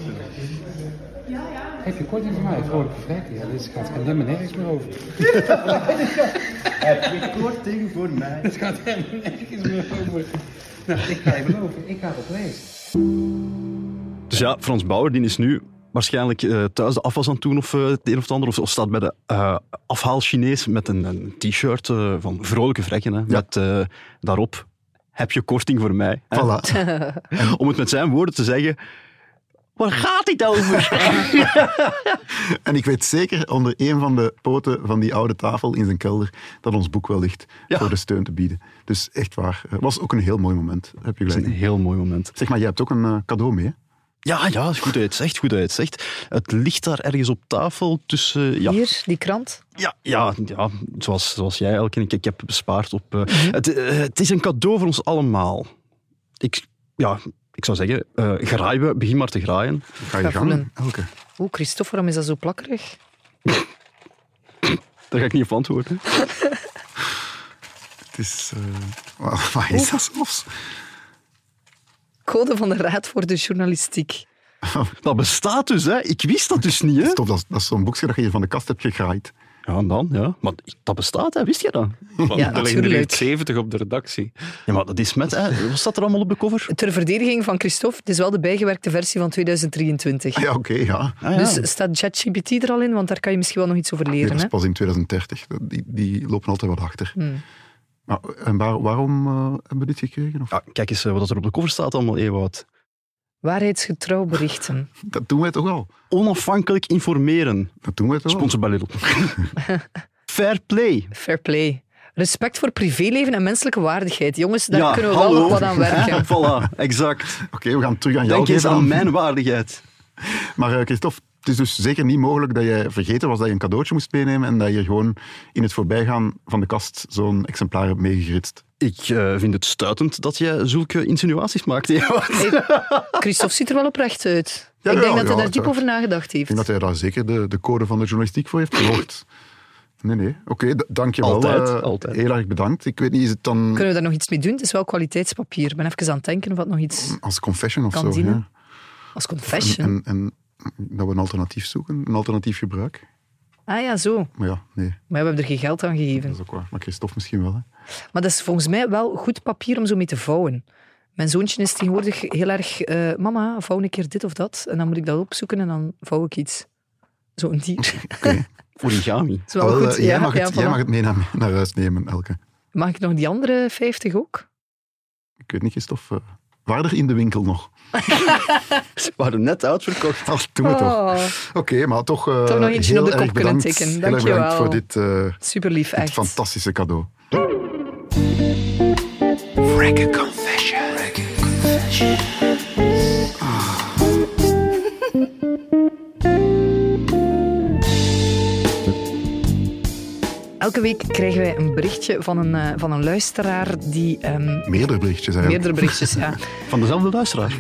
Speaker 10: heb je korting voor mij? Vrolijke vrekken. Ja, dit gaat helemaal nergens meer over.
Speaker 7: Heb je korting voor mij?
Speaker 10: Het gaat helemaal nergens meer over. Nou, ik ga je beloven, ik ga dat lezen.
Speaker 4: Dus ja, Frans Bauer die is nu waarschijnlijk eh, thuis de afwas aan het doen of eh, het een of het ander. Of, of staat bij de eh, afhaal Chinees met een, een t-shirt eh, van vrolijke vrekken. Hè, Met eh, daarop heb je korting voor mij. hè.
Speaker 2: Voilà.
Speaker 4: Om het met zijn woorden te zeggen... Waar gaat dit over?
Speaker 2: En ik weet zeker onder een van de poten van die oude tafel in zijn kelder dat ons boek wel ligt
Speaker 4: Ja.
Speaker 2: voor de steun te bieden. Dus echt waar. Het was ook een heel mooi moment. Heb je
Speaker 4: Dat is een
Speaker 2: gelijk.
Speaker 4: heel mooi moment.
Speaker 2: Zeg maar, jij hebt ook een eh, cadeau mee. hè?
Speaker 4: Ja, ja, goed dat je het zegt, goed dat je het zegt. Het ligt daar ergens op tafel tussen... eh, Ja,
Speaker 3: Hier, die krant.
Speaker 4: Ja, ja, ja zoals, zoals jij elke keer. Ik heb bespaard op. eh, het, eh, het is een cadeau voor ons allemaal. Ik, ja, ik zou zeggen, eh graai we, begin maar te graaien.
Speaker 2: Ga je
Speaker 3: Ga
Speaker 2: gang.
Speaker 3: voelen.
Speaker 2: Elke.
Speaker 3: Oeh, Christophe, waarom is dat zo plakkerig?
Speaker 4: Daar ga ik niet op antwoorden.
Speaker 2: Het is... eh, wa- Wat
Speaker 4: Oh.
Speaker 2: is dat zelfs?
Speaker 3: Code van de Raad voor de Journalistiek.
Speaker 4: Dat bestaat dus, hè? Ik wist dat dus niet, hè?
Speaker 2: Tof, dat is, dat is zo'n boekje dat je hier van de kast hebt gegraaid.
Speaker 4: Ja, en dan, ja. Maar dat bestaat, hè? Wist je dat?
Speaker 5: Want
Speaker 3: Ja,
Speaker 5: er liggen er
Speaker 3: natuurlijk.
Speaker 5: 70 op de redactie.
Speaker 4: Ja, maar dat is met, hè? Wat staat er allemaal op de cover?
Speaker 3: Ter verdediging van Christophe, het is wel de bijgewerkte versie van 2023.
Speaker 2: Ja, oké, ja.
Speaker 4: Ah, ja.
Speaker 3: Dus staat ChatGPT er al in? Want daar kan je misschien wel nog iets over
Speaker 2: Nee,
Speaker 3: leren.
Speaker 2: dat
Speaker 3: hè?
Speaker 4: Hmm.
Speaker 2: is pas in 2030. Dat- Die, die lopen altijd wat achter. Maar, en waar- waarom eh, hebben we dit gekregen? Of,
Speaker 4: Ja, kijk eens eh, wat er op de cover staat allemaal, Ewout.
Speaker 3: Waarheidsgetrouw berichten.
Speaker 2: Dat doen wij toch al?
Speaker 4: Onafhankelijk informeren.
Speaker 2: Dat doen wij toch al?
Speaker 4: Sponsor bij Lidl. Fair play.
Speaker 3: Fair play. Respect voor privéleven en menselijke waardigheid. Jongens, daar
Speaker 4: Ja,
Speaker 3: kunnen we
Speaker 4: hallo.
Speaker 3: wel nog wat aan werken.
Speaker 4: Hè? voilà, exact.
Speaker 2: Oké, we gaan terug aan jou
Speaker 4: Denk eens
Speaker 2: geven.
Speaker 4: aan mijn waardigheid.
Speaker 2: Maar eh, Christophe, het is dus zeker niet mogelijk dat jij vergeten was dat je een cadeautje moest meenemen en dat je gewoon in het voorbijgaan van de kast zo'n exemplaar hebt meegeritst.
Speaker 4: Ik eh, vind het stuitend dat jij zulke insinuaties maakt, Ewout.
Speaker 3: Christophe ziet er wel oprecht uit.
Speaker 2: Ja,
Speaker 3: ik
Speaker 2: ja,
Speaker 3: denk dat
Speaker 2: ja,
Speaker 3: hij daar
Speaker 2: het-
Speaker 3: diep over nagedacht
Speaker 2: Ik
Speaker 3: heeft.
Speaker 2: denk dat hij daar zeker de, de code van de journalistiek voor heeft gehoord. Nee, nee. Oké, d- dankjewel.
Speaker 4: Altijd,
Speaker 2: Eh,
Speaker 4: altijd.
Speaker 2: Heel erg bedankt. Ik weet niet, is het dan
Speaker 3: Kunnen we daar nog iets mee doen? Het is wel kwaliteitspapier. Ik ben even aan het denken of dat nog iets
Speaker 2: als confession of
Speaker 3: Kan
Speaker 2: zo?
Speaker 3: dienen.
Speaker 2: ja?
Speaker 3: als confession.
Speaker 2: En, en dat we een alternatief zoeken, een alternatief gebruik.
Speaker 3: Ah ja, zo.
Speaker 2: Maar ja, nee,
Speaker 3: Maar we hebben er geen geld aan gegeven.
Speaker 2: dat is ook waar. Maar Christophe misschien wel. Hè?
Speaker 3: Maar dat is volgens mij wel goed papier om zo mee te vouwen. Mijn zoontje is tegenwoordig heel erg... eh, Mama, vouw een keer dit of dat. En dan moet ik dat opzoeken en dan vouw ik iets. Zo'n dier.
Speaker 4: Origami.
Speaker 3: Dat is wel
Speaker 2: Ah, wel,
Speaker 3: goed.
Speaker 2: eh, jij,
Speaker 3: Ja,
Speaker 2: mag
Speaker 3: ja,
Speaker 2: het, jij
Speaker 3: voilà.
Speaker 2: mag het mee naar, naar huis nemen, Elke.
Speaker 3: Mag ik nog die andere 50 ook?
Speaker 2: Ik weet niet, Christophe. eh, waren er in de winkel nog?
Speaker 4: Ze waren net uitverkocht.
Speaker 2: Ah, doen we toch.
Speaker 3: Oh,
Speaker 2: Oké, maar toch, eh,
Speaker 3: Toch nog eentje
Speaker 2: heel
Speaker 3: op de kop
Speaker 2: erg
Speaker 3: kunnen
Speaker 2: bedankt.
Speaker 3: tikken.
Speaker 2: Heel erg
Speaker 3: Dankjewel.
Speaker 2: bedankt voor dit, eh,
Speaker 3: super lief,
Speaker 2: dit
Speaker 3: echt.
Speaker 2: fantastische cadeau.
Speaker 3: Elke week krijgen wij een berichtje van een, eh, van een luisteraar die... ehm,
Speaker 2: Meerdere berichtjes eigenlijk.
Speaker 3: meerdere berichtjes, ja.
Speaker 4: Van dezelfde luisteraar.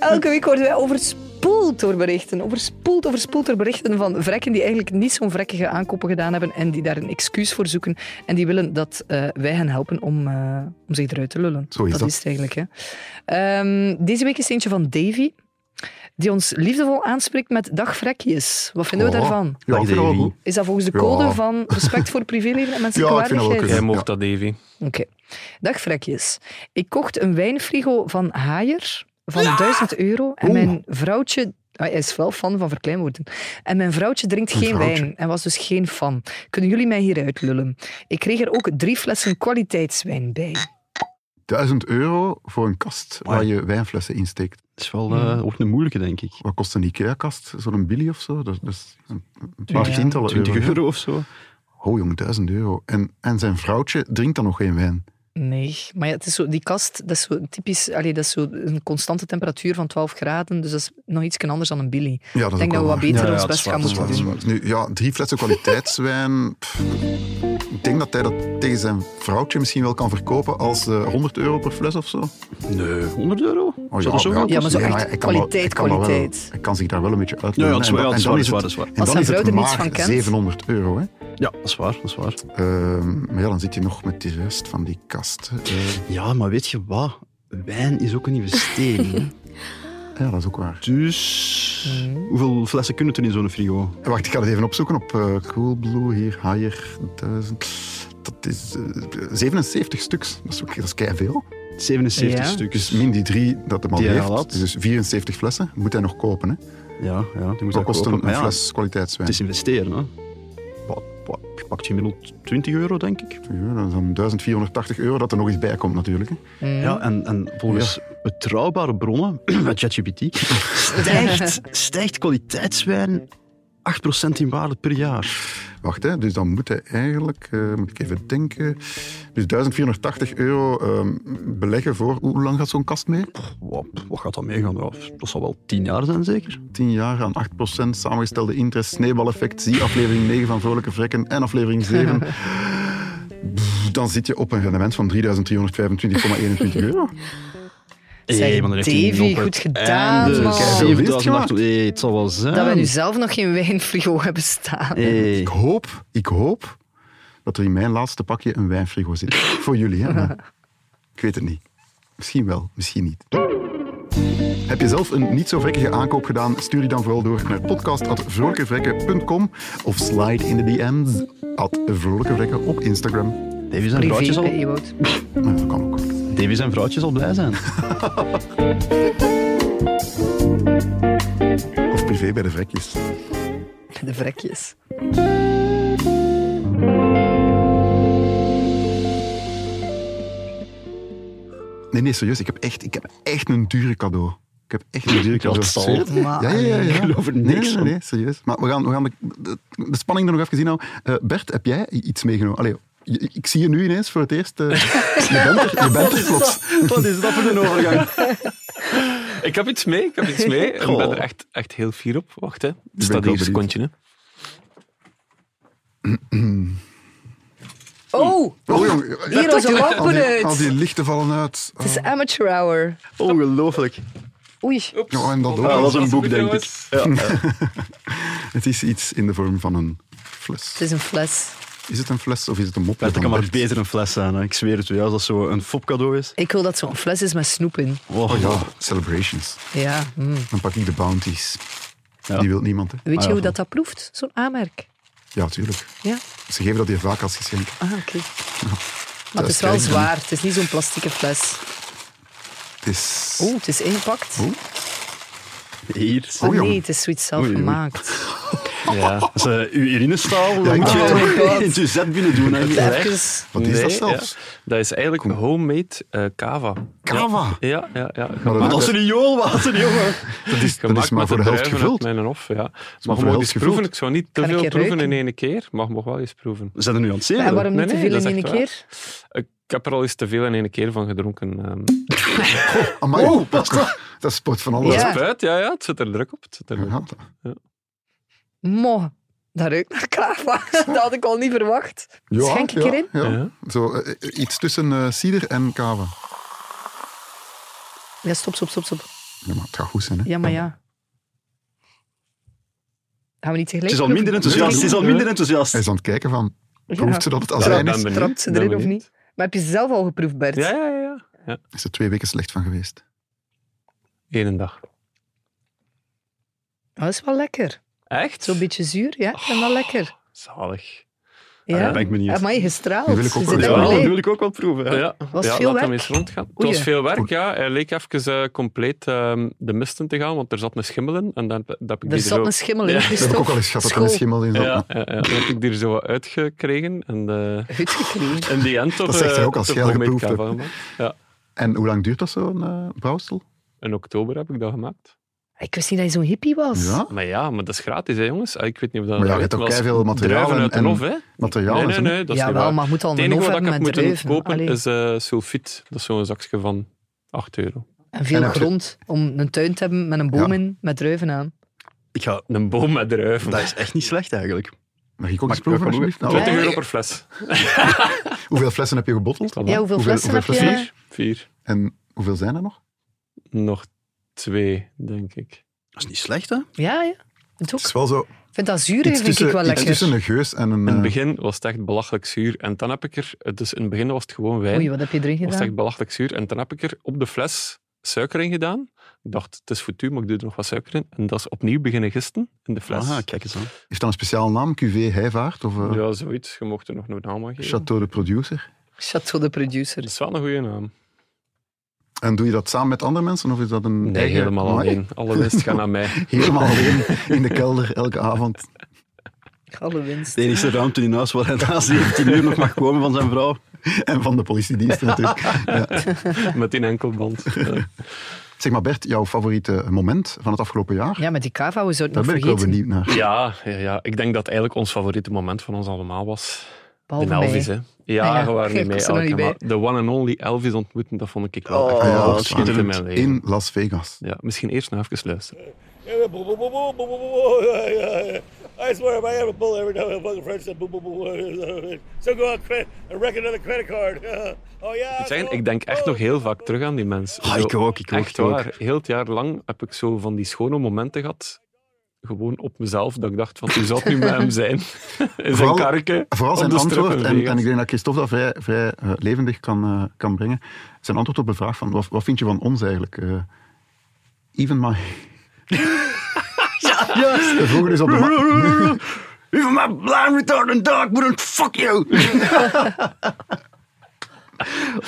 Speaker 3: Elke week worden wij overspoeld door berichten. Overspoeld, overspoeld door berichten van vrekken die eigenlijk niet zo'n vrekkige aankopen gedaan hebben en die daar een excuus voor zoeken. En die willen dat eh, wij hen helpen om, eh, om zich eruit te lullen.
Speaker 2: Zo is dat.
Speaker 3: is het eigenlijk. Hè. Ehm, deze week is eentje van Davy, die ons liefdevol aanspreekt met dag vrekjes. Wat vinden we
Speaker 2: Oh.
Speaker 3: daarvan?
Speaker 2: Ja,
Speaker 4: Dag,
Speaker 2: ik vind dat wel
Speaker 4: Davy.
Speaker 2: goed.
Speaker 3: Is dat volgens de
Speaker 2: Ja.
Speaker 3: code van respect voor privéleven en menselijke
Speaker 2: Ja, ik vind dat wel
Speaker 3: waardigheid?
Speaker 5: Jij
Speaker 2: kunnen.
Speaker 5: mocht
Speaker 2: Ja.
Speaker 5: dat, Davy.
Speaker 3: Oké. Dag vrekjes. Ik kocht een wijnfrigo van Haier van 1000 euro en mijn vrouwtje... Ah, Hij is wel fan van verkleinwoorden. En mijn vrouwtje drinkt geen
Speaker 2: vrouwtje.
Speaker 3: wijn en was dus geen fan. Kunnen jullie mij hier uitlullen? Ik kreeg er ook drie flessen kwaliteitswijn bij.
Speaker 2: 1000 euro voor een kast waar je wijnflessen in steekt.
Speaker 4: Dat is wel, eh, wordt een moeilijke, denk ik.
Speaker 2: Wat kost een IKEA-kast? Zo'n billy of zo? Dat, dat is een een paar
Speaker 3: Ja.
Speaker 2: tientallen
Speaker 4: 20
Speaker 2: euro.
Speaker 4: euro of zo.
Speaker 2: Oh jong, 1000 euro. En, en zijn vrouwtje drinkt dan nog geen wijn.
Speaker 3: Nee, maar ja, het is zo, die kast, dat is zo typisch... Allee, dat is zo een constante temperatuur van 12 graden, dus dat is nog iets anders dan een billy.
Speaker 2: Ja, dat
Speaker 3: Ik denk dat we wat beter
Speaker 4: Ja, ja,
Speaker 3: ons
Speaker 4: dat is
Speaker 3: best
Speaker 4: waar,
Speaker 3: gaan
Speaker 4: dat is
Speaker 3: moeten
Speaker 4: waar,
Speaker 3: doen.
Speaker 2: beter... Nu, ja, drie flessen kwaliteitswijn... pff, ik denk dat hij dat tegen zijn vrouwtje misschien wel kan verkopen als eh, 100 euro per fles of zo.
Speaker 4: Nee. 100 euro?
Speaker 2: Oh,
Speaker 4: Zou dat zo
Speaker 2: ja,
Speaker 4: wel
Speaker 3: Ja, maar zo
Speaker 4: kosten?
Speaker 3: echt
Speaker 2: hij kan wel-
Speaker 3: kwaliteit,
Speaker 2: hij kan wel-
Speaker 3: kwaliteit.
Speaker 2: Hij kan zich daar wel een beetje uit.
Speaker 4: Ja, ja, dat is waar, dat is waar, dat is waar, dat
Speaker 2: En
Speaker 3: Als
Speaker 2: dan
Speaker 3: zijn
Speaker 2: is het
Speaker 3: vrouw er niets
Speaker 2: maar
Speaker 3: van kent.
Speaker 2: 700 euro. Hè.
Speaker 4: Ja, dat is waar, dat is waar.
Speaker 2: Ehm, maar ja, dan zit je nog met de rest van die kast. Eh,
Speaker 4: Ja, maar weet je wat? Wijn is ook een investering. hè.
Speaker 2: ja, dat is ook waar.
Speaker 4: dus... Hoeveel flessen kunnen er in zo'n frigo?
Speaker 2: Eh, Wacht, ik ga het even opzoeken op eh, Coolblue. Hier, Haier, 1000. Dat is eh, 77 stuks. Dat is, ook- dat is keiveel.
Speaker 4: 77
Speaker 3: Ja.
Speaker 2: Dus
Speaker 4: stukjes.
Speaker 2: min die drie dat hem al
Speaker 4: Die hij
Speaker 2: heeft.
Speaker 4: al had.
Speaker 2: Dus 74 flessen. Moet hij nog kopen. Hè.
Speaker 4: Ja, ja, die moet
Speaker 2: Wat
Speaker 4: je
Speaker 2: kost
Speaker 4: kopen.
Speaker 2: een,
Speaker 4: Maar
Speaker 2: een
Speaker 4: ja,
Speaker 2: fles kwaliteitswijn?
Speaker 4: Het is investeren, hè. Wat, wat, je pakt gemiddeld 20 euro, denk ik.
Speaker 2: Ja, dat is dan 1480 euro dat er nog eens bij komt natuurlijk. hè.
Speaker 4: Ja, en, en volgens betrouwbare bronnen, met ChatGPT, stijgt, stijgt kwaliteitswijn 8% in waarde per jaar.
Speaker 2: Wacht, hè, dus dan moet hij eigenlijk, eh, moet ik even denken, dus 1480 euro ehm, beleggen voor, hoe lang gaat zo'n kast mee?
Speaker 4: Wat, wat gaat dat meegaan? Ja, dat zal wel 10 jaar zijn, zeker?
Speaker 2: 10 jaar aan 8% samengestelde interest, sneeuwbaleffect, zie aflevering 9 van Vrolijke Vrekken en aflevering 7. Pff, Dan zit je op een rendement van 3.325,21 euro.
Speaker 3: Zeg,
Speaker 4: maar dan heeft hij
Speaker 3: Davy,
Speaker 4: nog het
Speaker 3: goed gedaan,
Speaker 4: einde.
Speaker 3: man.
Speaker 4: Kijk,
Speaker 2: Veel winst
Speaker 4: 7008.
Speaker 2: gemaakt.
Speaker 4: Hey, het zal wel zijn.
Speaker 3: Dat we nu zelf nog geen wijnfrigo hebben staan.
Speaker 4: Hey.
Speaker 2: Ik hoop, ik hoop dat er in mijn laatste pakje een wijnfrigo zit. Voor jullie, hè? maar ik weet het niet. Misschien wel, misschien niet. Heb je zelf een niet zo vrekkige aankoop gedaan? Stuur die dan vooral door naar podcast.vrolijkevrekken.com of slide in de DM's at vrolijkevrekken op Instagram.
Speaker 4: Davy zijn, vrouwtje
Speaker 3: Privé bij
Speaker 4: zal,
Speaker 3: Ewout.
Speaker 2: Nou, dat kan ook.
Speaker 4: Davy zijn vrouwtje zal blij zijn.
Speaker 2: Of privé bij de vrekjes.
Speaker 3: De vrekjes.
Speaker 2: Nee, nee, serieus. Ik heb echt, ik heb echt een dure cadeau. Ik heb echt een dure cadeau.
Speaker 4: zal.
Speaker 2: Serieus?
Speaker 3: Maar-
Speaker 2: Ja, ja, ja. ja.
Speaker 4: Ik geloof er
Speaker 2: Nee,
Speaker 4: niks
Speaker 2: Nee,
Speaker 4: van.
Speaker 2: nee, nee, serieus. Maar we gaan, we gaan de, de, de spanning er nog even in houden. Eh, Bert, heb jij iets meegenomen? Allee, je- ik zie je nu ineens voor het eerst. eh, je bent er, je bent er plots.
Speaker 4: Wat is dat voor een overgang?
Speaker 5: Ik heb iets mee, ik heb iets mee. Ik ben
Speaker 4: Goh.
Speaker 5: er echt, echt heel fier op. Wacht, hè. Er
Speaker 2: wel
Speaker 5: staat hier een
Speaker 2: benieuwd.
Speaker 5: secondje, hè.
Speaker 3: Oh,
Speaker 2: Oh, jong.
Speaker 3: Hier, onze lampen
Speaker 2: al die,
Speaker 3: uit.
Speaker 2: al die lichten vallen uit.
Speaker 3: het is amateur hour.
Speaker 4: Ongelooflijk.
Speaker 3: Oei.
Speaker 2: Ja, en dat ook.
Speaker 4: Ah, dat was een boek, denk ik.
Speaker 5: Jongens.
Speaker 4: Ja.
Speaker 2: Het is iets in de vorm van een fles.
Speaker 3: Het is een fles.
Speaker 2: Is het een fles of is het een mopje?
Speaker 4: Bert,
Speaker 2: van
Speaker 4: er kan maar
Speaker 2: Bert?
Speaker 4: beter een fles zijn. hè. Ik zweer het u, ja, als dat zo een fopcadeau is.
Speaker 3: Ik wil dat zo'n fles is met snoep in.
Speaker 4: Oh,
Speaker 2: Oh ja, celebrations.
Speaker 3: Ja. mm.
Speaker 2: Dan pak ik de bounties.
Speaker 4: Ja.
Speaker 2: Die wil niemand, hè?
Speaker 3: Weet
Speaker 4: Ah,
Speaker 3: je hoe
Speaker 4: ja, van-
Speaker 3: dat dat proeft? Zo'n aanmerk.
Speaker 2: Ja, tuurlijk.
Speaker 3: Ja.
Speaker 2: Ze geven dat hier vaak als geschenk.
Speaker 3: Ah, oké. Maar
Speaker 2: Dat
Speaker 3: het is wel
Speaker 2: kijk dan.
Speaker 3: zwaar. Het is niet zo'n plastieke fles.
Speaker 2: Het is...
Speaker 3: Oeh, het is ingepakt.
Speaker 4: hier.
Speaker 3: Oh,
Speaker 2: jong.
Speaker 3: nee, het is zoiets zelf
Speaker 4: Oei, oei.
Speaker 3: gemaakt.
Speaker 4: Ja. Dat is eh, uw urinestaal.
Speaker 2: ik
Speaker 4: Dan moet je
Speaker 2: weet
Speaker 3: het.
Speaker 4: het in uw zet binnen doen. hè.
Speaker 3: Even.
Speaker 2: Wat is dat
Speaker 5: Nee,
Speaker 2: zelfs?
Speaker 5: ja. Dat is eigenlijk homemade eh, kava.
Speaker 2: Kava?
Speaker 5: Ja, ja. ja, ja.
Speaker 2: Maar
Speaker 4: Dat is rioolwater, jongen.
Speaker 2: Nou, dat is, dat
Speaker 5: Gemaakt
Speaker 2: is maar
Speaker 5: met
Speaker 2: voor de helft
Speaker 5: druiven uit
Speaker 2: gevuld.
Speaker 5: Mijn hof, ja.
Speaker 2: voor
Speaker 5: Maar
Speaker 2: de
Speaker 5: je mag
Speaker 2: helft
Speaker 5: eens proeven.
Speaker 2: gevuld.
Speaker 5: Ik zou niet te
Speaker 3: Kan ik
Speaker 5: veel
Speaker 3: een
Speaker 5: proeven in
Speaker 3: ruiken?
Speaker 5: één keer, maar je mag wel eens proeven.
Speaker 4: We zijn er nu aan het
Speaker 3: En waarom
Speaker 4: zeren.
Speaker 3: niet
Speaker 5: Nee,
Speaker 3: te
Speaker 5: nee,
Speaker 3: veel
Speaker 5: dat
Speaker 3: in één
Speaker 5: is echt
Speaker 3: keer?
Speaker 5: Ik heb er al eens te veel in één keer van gedronken. ehm.
Speaker 2: Amai, oh, dat, dat spot van alles.
Speaker 3: Ja.
Speaker 2: uit.
Speaker 5: Spuit, ja, ja, het zit er druk op. Het zit er druk
Speaker 2: Ja,
Speaker 5: op.
Speaker 2: dat-
Speaker 3: Mo, dat ruikt naar kava. Dat had ik al niet verwacht.
Speaker 2: ja,
Speaker 3: Schenk ik
Speaker 2: ja,
Speaker 3: erin?
Speaker 2: ja.
Speaker 5: Ja.
Speaker 2: Zo, eh, eh, iets tussen eh, cider en kava.
Speaker 3: Ja, stop, stop, stop, stop.
Speaker 2: Ja, maar het gaat goed zijn, hè?
Speaker 3: Ja, maar ja. Gaan we niet tegelijk
Speaker 4: Het is al
Speaker 3: proeven?
Speaker 4: minder enthousiast. Het is al minder enthousiast.
Speaker 2: Hij is aan het kijken van,
Speaker 3: Ja.
Speaker 2: proeft ze dat het
Speaker 5: Ja,
Speaker 2: azijn
Speaker 5: ben
Speaker 2: is?
Speaker 5: benieuwd,
Speaker 3: Trapt ze
Speaker 5: ben
Speaker 3: erin of
Speaker 5: benieuwd.
Speaker 3: niet? Maar heb je zelf al geproefd, Bert?
Speaker 5: Ja, ja, ja, ja.
Speaker 2: Is er twee weken slecht van geweest.
Speaker 5: Eén dag.
Speaker 3: Oh, dat is wel lekker.
Speaker 5: Echt?
Speaker 3: Zo'n beetje zuur, ja. Ik
Speaker 5: Ah.
Speaker 3: vind dat lekker.
Speaker 5: Zalig. Ah,
Speaker 3: Ja.
Speaker 4: Ja, ben ik benieuwd.
Speaker 3: Amai, gestraald.
Speaker 2: Nu wil ik ook
Speaker 3: Je
Speaker 2: wel
Speaker 3: zit
Speaker 2: eens
Speaker 3: echt
Speaker 4: Ja,
Speaker 2: wel.
Speaker 4: dat
Speaker 3: blij.
Speaker 4: wil ik ook wel proeven. hè.
Speaker 5: Ja,
Speaker 3: Was
Speaker 5: ja
Speaker 3: veel
Speaker 5: laat hem
Speaker 3: werk?
Speaker 5: eens rondgaan. Het
Speaker 3: Oei.
Speaker 5: was veel werk, ja. Hij leek even eh, compleet ehm, de mist in te gaan, want er zat een schimmel in. En dan, dat heb ik
Speaker 3: Er
Speaker 5: die
Speaker 3: zat
Speaker 5: zo-
Speaker 3: een schimmel in,
Speaker 5: Ja.
Speaker 2: Dat heb ik ook al eens gehad, dat er een
Speaker 3: School.
Speaker 2: schimmel in zat.
Speaker 5: Ja, ja, ja. Dat heb ik die er zo uitgekregen. En, eh
Speaker 3: Uitgekregen.
Speaker 5: en die end op
Speaker 2: Dat zegt hij
Speaker 5: eh,
Speaker 2: ook als
Speaker 5: op
Speaker 2: jij al
Speaker 5: homemade
Speaker 2: geproefd
Speaker 5: kava gemaakt. Ja.
Speaker 2: En hoe lang duurt dat zo'n eh brouwsel?
Speaker 5: In oktober heb ik dat gemaakt.
Speaker 3: Ah, Ik wist niet dat je zo'n hippie was.
Speaker 2: Ja,
Speaker 5: Maar ja, maar dat is gratis, hè, jongens. Ah, Ik weet niet of dat...
Speaker 2: Maar ja, je
Speaker 5: dat
Speaker 2: hebt ook
Speaker 5: weet, maar
Speaker 2: keiveel
Speaker 5: als
Speaker 2: materiaal
Speaker 5: druiven uit
Speaker 2: en-
Speaker 5: een
Speaker 2: en
Speaker 5: hof, hè.
Speaker 2: materiaal
Speaker 5: Nee,
Speaker 2: en
Speaker 5: nee,
Speaker 2: zo.
Speaker 5: nee, dat is niet
Speaker 3: Jawel,
Speaker 5: waar.
Speaker 3: maar je moet al
Speaker 5: Het
Speaker 3: een
Speaker 5: enige
Speaker 3: hoofd
Speaker 5: wat ik
Speaker 3: hebben
Speaker 5: heb
Speaker 3: met
Speaker 5: moeten
Speaker 3: druiven.
Speaker 5: kopen
Speaker 3: Allee.
Speaker 5: is eh sulfiet. Dat is zo'n zakje van 8 euro.
Speaker 3: En veel
Speaker 2: En heb je-
Speaker 3: grond om een tuin te hebben met een boom
Speaker 2: Ja.
Speaker 3: in, met druiven aan.
Speaker 4: Ik ga...
Speaker 5: Een boom met druiven.
Speaker 4: Dat is echt niet slecht, eigenlijk.
Speaker 2: Mag ik ook
Speaker 4: Mag
Speaker 2: eens
Speaker 4: ik
Speaker 2: proeven,
Speaker 4: ook wel
Speaker 2: alsjeblieft? Nou,
Speaker 5: 20
Speaker 3: Ja.
Speaker 5: euro per fles.
Speaker 2: hoeveel flessen heb je gebotteld?
Speaker 3: Ja, hoeveel flessen heb je?
Speaker 2: flessen?
Speaker 5: Vier.
Speaker 2: En hoeveel zijn er nog?
Speaker 5: Nog twee, denk ik.
Speaker 4: Dat is niet slecht, hè?
Speaker 3: Ja, ja. Het ook.
Speaker 2: Het is wel zo
Speaker 3: Ik vind dat zuur,
Speaker 2: iets
Speaker 3: vind ik
Speaker 2: tussen,
Speaker 3: wel
Speaker 2: iets
Speaker 3: lekker.
Speaker 2: tussen een geus en een...
Speaker 5: In het
Speaker 2: eh,
Speaker 5: begin was het echt belachelijk zuur. En dan heb ik er... Dus in het begin was het gewoon wijn.
Speaker 3: Oei, wat heb je erin
Speaker 5: was het
Speaker 3: gedaan?
Speaker 5: echt belachelijk zuur. En dan heb ik er op de fles suiker in gedaan. Ik dacht, het is foutu, maar ik doe er nog wat suiker in. En dat is opnieuw beginnen gisten in de fles.
Speaker 4: Ah, kijk eens aan.
Speaker 2: Heeft dat een speciaal naam? QV Heivaart of eh,
Speaker 5: Ja, zoiets. Je mocht er nog een naam aan geven.
Speaker 2: Chateau de Producer?
Speaker 3: Chateau de producer.
Speaker 5: Dat is wel een goede naam.
Speaker 2: En doe je dat samen met andere mensen of is dat een
Speaker 5: Nee,
Speaker 2: eigen-
Speaker 5: helemaal
Speaker 2: Amai,
Speaker 5: alleen. Alle winst gaat naar mij.
Speaker 2: Helemaal alleen in de kelder elke avond.
Speaker 3: Alle winst.
Speaker 4: De enige ruimte in huis waar hij na 17 uur nog mag komen van zijn vrouw.
Speaker 2: En van de politiediensten natuurlijk.
Speaker 5: Met die enkelband. Ja.
Speaker 2: Zeg maar Bert, jouw favoriete moment van het afgelopen jaar?
Speaker 3: Ja, met die kava, we zouden
Speaker 2: Daar
Speaker 3: het
Speaker 2: ben
Speaker 3: nog
Speaker 2: ik wel
Speaker 3: vergeten.
Speaker 2: benieuwd naar.
Speaker 5: Ja, ja, ja, ik denk dat eigenlijk ons favoriete moment van ons allemaal was.
Speaker 3: Behalve
Speaker 5: de
Speaker 3: mij.
Speaker 5: Elvis, hè. Ja,
Speaker 3: Ah ja,
Speaker 5: we waren
Speaker 3: ik
Speaker 5: niet mee.
Speaker 3: was er nog
Speaker 5: elke,
Speaker 3: niet
Speaker 5: maar De one and only Elvis ontmoeten, dat vond ik wel
Speaker 4: Oh,
Speaker 5: echt
Speaker 2: Ah
Speaker 5: een
Speaker 2: ja,
Speaker 4: dat is
Speaker 5: hoogtepunt in mijn leven.
Speaker 2: In Las Vegas.
Speaker 5: Ja, misschien eerst nog even luisteren.
Speaker 9: I swear, if I have a bull every time a fucking French said boo boo boo, so go out credit, and wreck another credit card. oh ja.
Speaker 5: Ik, moet zeggen, ik denk
Speaker 9: Oh.
Speaker 5: echt nog heel vaak terug aan die mensen.
Speaker 4: Ah, ik ook, ik ook,
Speaker 5: Echt
Speaker 4: ik ook.
Speaker 5: waar. Heel het jaar lang heb ik zo van die schone momenten gehad. Gewoon op mezelf, dat ik dacht, van, hoe zou het nu met hem zijn? In zijn
Speaker 2: Vooral-
Speaker 5: karken.
Speaker 2: Vooral
Speaker 5: op
Speaker 2: zijn
Speaker 5: de strip in
Speaker 2: antwoord, en,
Speaker 5: Vegas.
Speaker 2: en ik denk dat Christophe dat vrij, vrij eh, levendig kan, eh, kan brengen. Zijn antwoord op de vraag van, wat, wat vind je van ons eigenlijk? Eh, even my... ja, De volgende is op de ma- Even my blind retarded dog wouldn't fuck you!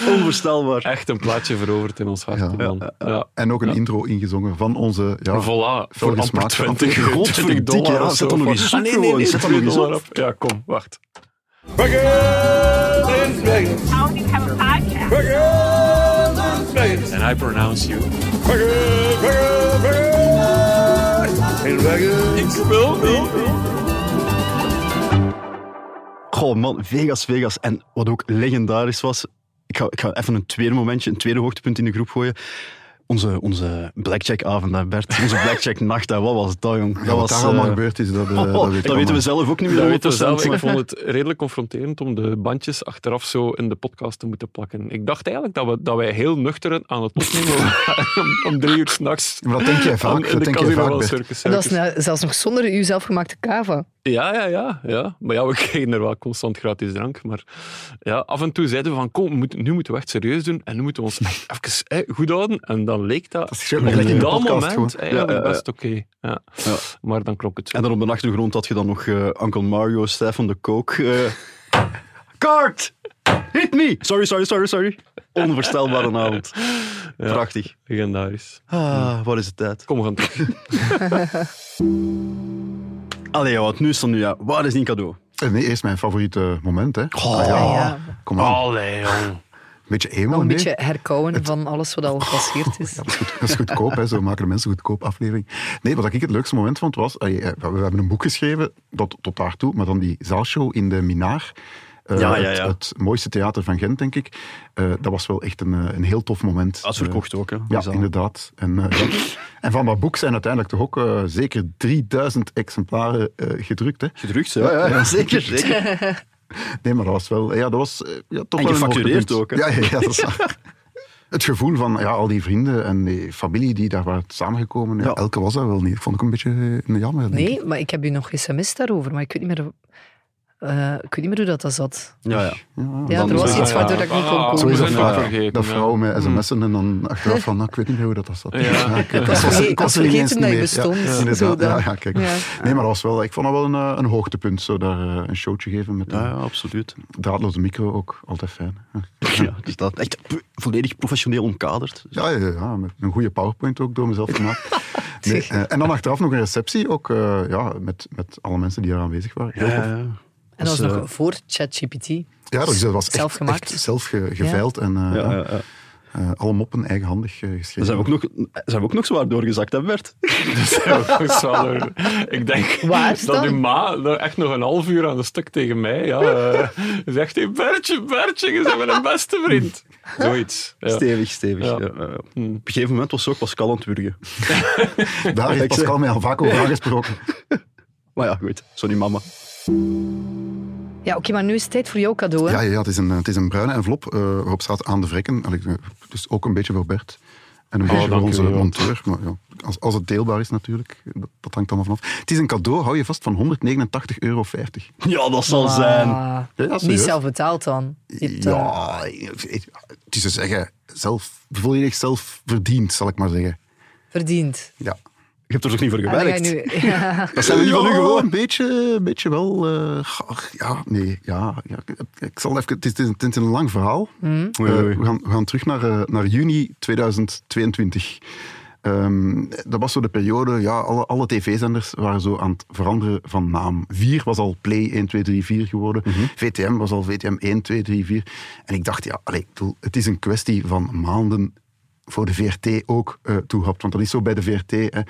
Speaker 4: Onvoorstelbaar.
Speaker 5: Echt een plaatje veroverd in ons hart.
Speaker 2: Ja.
Speaker 5: man. Ja,
Speaker 2: En ook een intro ingezongen van onze... Ja,
Speaker 5: Voilà, voor
Speaker 2: volgens
Speaker 5: amper
Speaker 2: maat-
Speaker 5: 20, 20
Speaker 4: Godverdikke,
Speaker 5: dollar.
Speaker 4: ja,
Speaker 5: of
Speaker 4: zet
Speaker 5: zo
Speaker 4: dan nog
Speaker 5: voor-
Speaker 4: eens op
Speaker 5: Ah, nee, nee,
Speaker 4: gewoon,
Speaker 5: nee,
Speaker 4: zet
Speaker 5: zet
Speaker 4: dan
Speaker 5: er
Speaker 4: nog eens
Speaker 5: dollar op. Ja, kom, wacht.
Speaker 9: Vegas in Vegas.
Speaker 6: I only have a podcast.
Speaker 9: Vegas in seconds.
Speaker 5: And I pronounce you.
Speaker 9: Cracker, cracker, cracker. In Vegas.
Speaker 4: Goh man, Vegas, Vegas. En wat ook legendarisch was, ik ga, ik ga even een tweede momentje, een tweede hoogtepunt in de groep gooien. Onze, onze blackjack-avond daar, Bert. Onze blackjack-nacht daar. Wat was dat, jong?
Speaker 2: Ja, wat
Speaker 4: was,
Speaker 2: daar allemaal
Speaker 4: eh,
Speaker 2: gebeurd is, dat, eh,
Speaker 4: oh,
Speaker 2: dat, weet ik
Speaker 4: dat weten we
Speaker 2: allemaal.
Speaker 4: zelf ook niet meer.
Speaker 5: Dat weten we zelf.
Speaker 4: 100%.
Speaker 5: Ik vond het redelijk confronterend om de bandjes achteraf zo in de podcast te moeten plakken. Ik dacht eigenlijk dat, we, dat wij heel nuchter aan het opnemen waren om, om drie uur s'nachts.
Speaker 2: Maar dat denk jij vaak,
Speaker 5: In
Speaker 2: dat
Speaker 5: de
Speaker 2: denk jij
Speaker 5: casino
Speaker 2: vaak,
Speaker 5: van
Speaker 2: Bert.
Speaker 5: Circus
Speaker 3: En dat is
Speaker 5: Circus.
Speaker 3: nou zelfs nog zonder uw zelfgemaakte cava.
Speaker 5: Ja, ja, ja, ja. Maar ja, we kregen er wel constant gratis drank. Maar ja, af en toe zeiden we van, kom, we moeten- nu moeten we echt serieus doen en nu moeten we ons echt even eh, goed houden. En dan leek dat,
Speaker 2: Dat is gewoon
Speaker 5: op
Speaker 2: gelijk in de
Speaker 5: dat
Speaker 2: podcast
Speaker 5: moment
Speaker 2: gewoon.
Speaker 5: eigenlijk
Speaker 4: Ja, ja, ja.
Speaker 5: best oké. Ja.
Speaker 4: Ja.
Speaker 5: Maar dan klonk het zo.
Speaker 4: En dan op de achtergrond had je dan nog eh Uncle Mario, Stefan de Kook. eh Kart! Hit me! Sorry, sorry, sorry, sorry. Onvoorstelbare avond. Prachtig.
Speaker 5: Legendarisch.
Speaker 4: Ah, wat is de tijd?
Speaker 5: Kom, we gaan terug.
Speaker 4: Allee, wat nu is dan nu? Ja. Waar is die cadeau?
Speaker 2: Eh, Nee, eerst mijn favoriete moment, hè. Ah,
Speaker 4: Oh,
Speaker 3: ja.
Speaker 2: Kom aan.
Speaker 5: Oh.
Speaker 2: Beetje emo,
Speaker 3: Nog een
Speaker 2: Oh, nee?
Speaker 3: beetje herkouwen van alles wat al gepasseerd is.
Speaker 2: Dat is, goed, dat is goedkoop, hè. zo maken de mensen goedkoop aflevering. Nee, wat ik het leukste moment vond was, eh, eh, we hebben een boek geschreven, dat, tot daartoe, maar dan die zaalshow in de Minaar. Eh,
Speaker 4: Ja, ja, ja.
Speaker 2: Het, het mooiste theater van Gent, denk ik. Eh, dat was wel echt een, eh, een heel tof moment. Eh,
Speaker 4: Dat is verkocht ook, hè?
Speaker 2: Ja,
Speaker 4: Is dat-
Speaker 2: inderdaad. En, eh, ja. en van dat boek zijn uiteindelijk toch ook eh, zeker 3000 exemplaren eh, gedrukt. Hè?
Speaker 4: Gedrukt, ja, ja, ja, zeker. zeker.
Speaker 2: Nee, maar dat was wel... Ja, dat was, eh, ja, toch
Speaker 4: En
Speaker 2: wel een
Speaker 4: gefactureerd
Speaker 2: hoogtepunt.
Speaker 4: ook, hè?
Speaker 2: Ja, ja, ja, dat is waar. Het gevoel van ja, al die vrienden en die familie die daar waren samengekomen. Ja,
Speaker 4: Ja.
Speaker 2: Elke was dat wel niet. Vond ik een beetje eh, een jammer. denk ik.
Speaker 3: Nee, maar ik heb u nog sms daarover, maar ik weet niet meer, eh, ik weet niet meer hoe dat, dat zat.
Speaker 4: Ja, ja.
Speaker 3: Ja,
Speaker 4: Dan
Speaker 3: er was
Speaker 4: is dat-
Speaker 3: iets waardoor
Speaker 5: ja.
Speaker 3: ik niet kon
Speaker 5: Ah,
Speaker 2: Zo
Speaker 3: komen.
Speaker 2: is dat
Speaker 5: Ja,
Speaker 2: vaak.
Speaker 5: vergeten,
Speaker 2: dat
Speaker 5: ja.
Speaker 2: vrouwen met sms'en en dan achteraf van, nou, ik weet niet meer hoe dat, dat zat.
Speaker 5: Ja.
Speaker 2: ik weet- dat was-
Speaker 3: Nee, ik
Speaker 2: was
Speaker 3: had
Speaker 2: er ineens
Speaker 3: vergeten dat je
Speaker 2: niet meer.
Speaker 3: bestond.
Speaker 2: Ja,
Speaker 3: Zo
Speaker 2: inderdaad.
Speaker 3: dan.
Speaker 2: ja, ja, kijk.
Speaker 3: Ja.
Speaker 2: Nee, maar dat was wel, ik vond dat wel een, eh, een hoogtepunt, zo daar eh, een showtje geven met
Speaker 4: Ja,
Speaker 2: een
Speaker 4: ja, absoluut.
Speaker 2: draadloze micro ook. Altijd fijn. Ja.
Speaker 4: Ja, dus dat echt p- volledig professioneel omkaderd. Dus-
Speaker 2: Ja, ja, ja, met een goede powerpoint ook door mezelf gemaakt. Nee, eh, en dan achteraf nog een receptie, ook eh, ja, met, met alle mensen die daar aanwezig waren. Heel tof.
Speaker 3: En dat was
Speaker 4: Dus,
Speaker 3: nog
Speaker 4: eh,
Speaker 3: voor ChatGPT.
Speaker 2: Ja, dus dat was echt,
Speaker 3: Zelf gemaakt.
Speaker 2: echt zelf ge- geveild en eh,
Speaker 4: Ja,
Speaker 2: ja,
Speaker 4: ja, ja.
Speaker 2: eh, alle moppen eigenhandig eh,
Speaker 4: Dan
Speaker 2: geschreven.
Speaker 4: zijn we, ook nog, zijn we ook nog zwaar doorgezakt, hè Bert?
Speaker 5: Ik zal er- ik denk
Speaker 3: Waar is
Speaker 5: dat
Speaker 3: dat?
Speaker 5: uw ma daar echt nog een half uur aan een stuk tegen mij ja, eh, zegt: hey Bertje, Bertje, je bent mijn beste vriend. Zoiets. Ja.
Speaker 4: Stevig, stevig.
Speaker 5: Ja.
Speaker 4: ja, Hmm. ja, ja. Op een gegeven moment was ze ook Pascal aan het wurgen.
Speaker 2: Daar heeft Pascal mij al vaak over aangesproken.
Speaker 4: Maar ja, goed. Sorry, mama.
Speaker 3: Ja, oké, maar nu is het tijd voor jouw cadeau. Hè?
Speaker 2: Ja, ja, ja, het, is een, het is een bruine envelop eh, waarop staat aan de vrekken. Allee, eh, Dus ook een beetje voor Bert. En
Speaker 4: Oh,
Speaker 2: een beetje voor
Speaker 5: dank u
Speaker 2: onze
Speaker 5: wel.
Speaker 2: monteur. Maar ja, als, als het deelbaar is natuurlijk, dat, dat hangt allemaal vanaf. Het is een cadeau, hou je vast, van 189,50 euro.
Speaker 4: Ja, dat zal
Speaker 3: Ah,
Speaker 4: zijn.
Speaker 2: Ja,
Speaker 3: niet
Speaker 2: serieus.
Speaker 3: zelf betaald dan. Je hebt, eh,
Speaker 2: Ja, het is te zeggen, zelf, volledig zelf verdiend, zal ik maar zeggen.
Speaker 3: verdiend.
Speaker 2: Ja.
Speaker 4: Je Oh. hebt er toch niet voor
Speaker 3: En dan ga je
Speaker 4: gewerkt?
Speaker 3: nu, ja.
Speaker 2: Dat zijn we niet van u gewoon. Een beetje, een beetje wel. eh, ach, ja, nee, ja. ja ik, ik zal even, het, is, het is een- het is een lang verhaal. Eh,
Speaker 4: Oei, oei.
Speaker 2: we, gaan, we gaan terug naar, eh, naar juni 2022. Ehm, dat was zo de periode, ja, alle, alle tv-zenders waren zo aan het veranderen van naam. 4 was al Play 1, 2, 3, 4 geworden. VTM was al VTM 1, 2, 3, 4. En ik dacht, ja, allee, ik bedoel, het is een kwestie van maanden voor de VRT ook eh toehapt. Want dat is zo bij de VRT. Hè.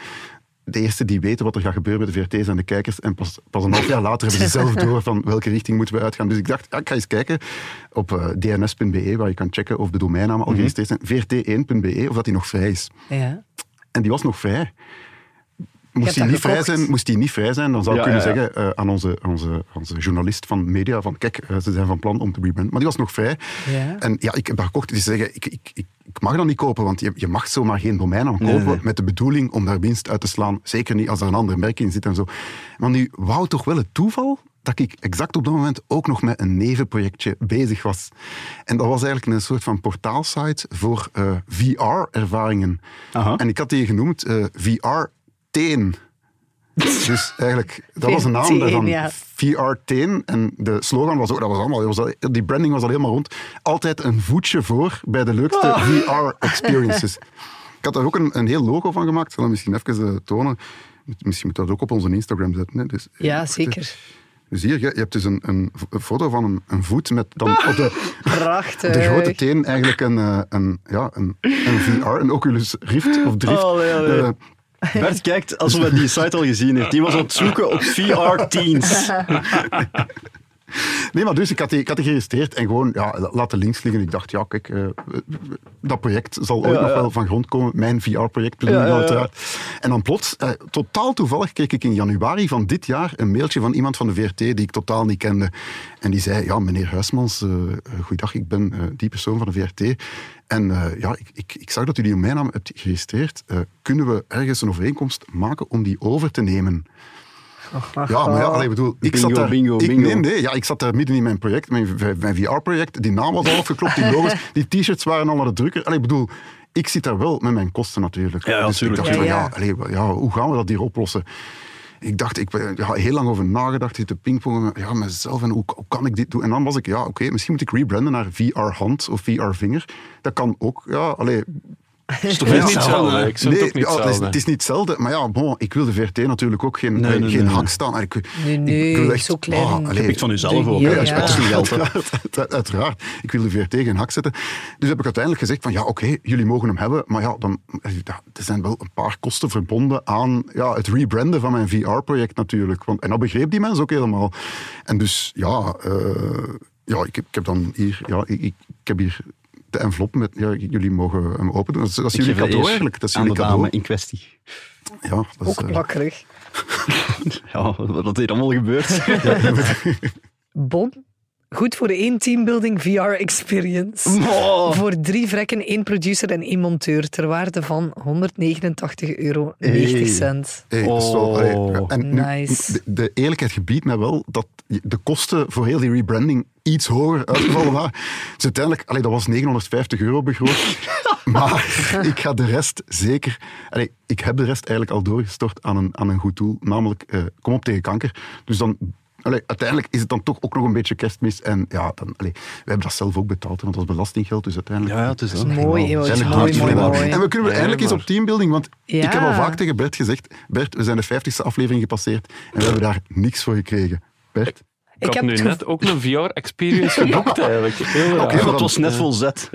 Speaker 2: De eerste die weten wat er gaat gebeuren bij de VRT zijn de kijkers. En pas, pas een half jaar later hebben ze zelf door van welke richting moeten we uitgaan. Dus ik dacht, ja, ik ga eens kijken op eh, dns.be, waar je kan checken of de domeinnamen al geregistreerd zijn. VRT1.be, E, of dat die nog vrij is.
Speaker 3: ja.
Speaker 2: En die was nog vrij.
Speaker 3: hebt
Speaker 2: Moest die,
Speaker 3: dat
Speaker 2: niet vrij
Speaker 3: gekocht?
Speaker 2: zijn, moest die niet vrij zijn, dan zou ik
Speaker 4: Ja,
Speaker 2: kunnen
Speaker 4: ja, ja.
Speaker 2: zeggen eh, aan onze, onze, onze journalist van media van kijk, eh, ze zijn van plan om te rebranden. Maar die was nog vrij.
Speaker 3: Ja.
Speaker 2: En ja, ik heb dat gekocht. Dus ze zeggen, ik, ik, ik, ik mag dat niet kopen, want je, je mag zomaar geen domeinnaam kopen met de bedoeling om daar winst uit te slaan. Zeker niet als er een ander merk in zit en zo. Maar nu wou toch wel het toeval dat ik exact op dat moment ook nog met een nevenprojectje bezig was. En dat was eigenlijk een soort van portaalsite voor eh, VR-ervaringen.
Speaker 4: Aha.
Speaker 2: En ik had die genoemd eh, VR-teen. Dus eigenlijk, dat was de naam
Speaker 3: Teen,
Speaker 2: daarvan.
Speaker 3: ja.
Speaker 2: VR-teen. En de slogan was ook, dat was allemaal, dat was al- die branding was al helemaal rond. Altijd een voetje voor bij de leukste
Speaker 3: Oh.
Speaker 2: VR-experiences. Ik had daar ook een, een heel logo van gemaakt. Ik zal dat misschien even eh, tonen. Misschien moet dat ook op onze Instagram zetten. Hè. Dus, eh,
Speaker 3: ja,
Speaker 2: wacht,
Speaker 3: zeker.
Speaker 2: Dus hier, je, je hebt dus een, een v- een foto van een, een voet met dan op de,
Speaker 3: Prachtig.
Speaker 2: op de grote teen eigenlijk een, eh, een, ja, een, een VR, een Oculus Rift of Drift.
Speaker 3: Oh,
Speaker 4: Allee, allee.
Speaker 2: Eh,
Speaker 4: Bert kijkt alsof hij die site al gezien heeft. Die was aan het zoeken op VR-teens.
Speaker 2: Nee, maar dus ik had die, ik had die geregistreerd en gewoon ja, la- laten links liggen. Ik dacht, ja, kijk, eh, dat project zal ooit
Speaker 4: Ja,
Speaker 2: nog
Speaker 4: ja.
Speaker 2: wel van grond komen. Mijn VR-project,
Speaker 4: Ja, ja, ja.
Speaker 2: uiteraard. En dan plots, eh, totaal toevallig, kreeg ik in januari van dit jaar een mailtje van iemand van de VRT die ik totaal niet kende. En die zei, ja, meneer Huismans, eh eh, goeiedag, ik ben eh, die persoon van de VRT. En eh, ja, ik, ik, ik zag dat u die op mijn naam hebt geregistreerd. Eh, kunnen we ergens een overeenkomst maken om die over te nemen? Ja, maar ja, allee, ik bedoel, ik
Speaker 4: Bingo,
Speaker 2: zat daar,
Speaker 4: bingo,
Speaker 2: ik,
Speaker 4: bingo.
Speaker 2: Nee, nee, ja, ik zat daar midden in mijn project, mijn, v- mijn VR-project. Die naam was al afgeklopt, die logo's, die t-shirts waren al naar de drukker. Allee, ik bedoel, ik zit daar wel met mijn kosten natuurlijk.
Speaker 4: Ja, ja,
Speaker 2: dus ik
Speaker 4: tuurlijk.
Speaker 2: dacht, ja,
Speaker 3: Ja,
Speaker 2: ja.
Speaker 3: ja.
Speaker 2: allee, wa- ja, hoe gaan we dat hier oplossen? Ik dacht, ik ben- ja, heel lang over nagedacht, zitten pingpongen met- ja, mezelf en hoe, hoe kan ik dit doen? En dan was ik, ja, oké, misschien moet ik rebranden naar VR-hand of VR-vinger. Dat kan ook, ja, allee,
Speaker 5: Het is toch niet hetzelfde? hè? Ik vind het ook niet
Speaker 2: ja, het, is,
Speaker 5: hetzelfde.
Speaker 2: het is niet hetzelfde, maar ja, bon, ik wil de VRT natuurlijk ook geen,
Speaker 4: Nee,
Speaker 2: eh,
Speaker 4: nee,
Speaker 2: geen
Speaker 4: nee, nee.
Speaker 2: hak staan. Ik,
Speaker 3: Nee, nee,
Speaker 2: ik wil echt,
Speaker 3: zo klein.
Speaker 2: ah, allee,
Speaker 4: Pikt van uzelf ook.
Speaker 3: Ja,
Speaker 4: hè. Dat
Speaker 3: ja.
Speaker 4: is- Dat is niet geld. hè.
Speaker 2: Uiteraard, uiteraard. Ik wil de VRT geen hak zetten. Dus heb ik uiteindelijk gezegd van ja, oké, jullie mogen hem hebben, maar ja, dan, ja, er zijn wel een paar kosten verbonden aan ja, het rebranden van mijn VR-project natuurlijk. Want, en dat begreep die mens ook helemaal. En dus ja, eh, ja ik, heb, ik heb dan hier, ja, ik, ik heb hier de envelop met, ja, jullie mogen hem open doen. Dat is, dat is
Speaker 4: Ik
Speaker 2: jullie
Speaker 4: geef de
Speaker 2: cadeau
Speaker 4: eer
Speaker 2: eigenlijk. Dat is
Speaker 4: aan
Speaker 2: jullie
Speaker 4: de
Speaker 2: cadeau.
Speaker 4: dame in kwestie.
Speaker 2: Ja, dat is,
Speaker 3: Ook
Speaker 2: eh,
Speaker 3: plakkerig.
Speaker 4: Ja, wat hier allemaal gebeurt.
Speaker 3: Bon. Goed voor één teambuilding VR-experience.
Speaker 4: Oh.
Speaker 3: Voor drie vrekken, één producer en één monteur. Ter waarde van 189,90 euro.
Speaker 2: hey, dat is wel-
Speaker 4: Oh,
Speaker 2: allee, en nu,
Speaker 3: nice.
Speaker 2: de, de eerlijkheid gebiedt mij wel dat de kosten voor heel die rebranding iets hoger uitgevallen waren. Dus uiteindelijk, allee, dat was 950 euro begroot. maar ik ga de rest zeker... allee, ik heb de rest eigenlijk al doorgestort aan een, aan een goed doel, namelijk eh, Kom op tegen kanker. Dus dan... allee, uiteindelijk is het dan toch ook nog een beetje kerstmis. En ja, dan, allee, we hebben dat zelf ook betaald, want dat was belastinggeld. Dus uiteindelijk...
Speaker 4: Ja, ja, het is dat.
Speaker 3: Mooi, joh.
Speaker 2: Zijn er
Speaker 3: mooi,
Speaker 2: doeltjes
Speaker 3: mooi,
Speaker 2: gedaan.
Speaker 3: mooi.
Speaker 2: En we kunnen
Speaker 5: Ja,
Speaker 2: eindelijk eens
Speaker 5: maar-
Speaker 2: op teambuilding, want
Speaker 3: Ja.
Speaker 2: ik heb al vaak tegen Bert gezegd, Bert, we zijn de 50ste aflevering gepasseerd en we hebben daar niks voor gekregen. Bert?
Speaker 5: Ik,
Speaker 3: Ik
Speaker 5: heb
Speaker 3: heb
Speaker 5: nu
Speaker 3: het
Speaker 5: net ook een VR-experience geboekt, eigenlijk. Heel raar.
Speaker 2: Oké.
Speaker 4: Ja, het was net vol zet.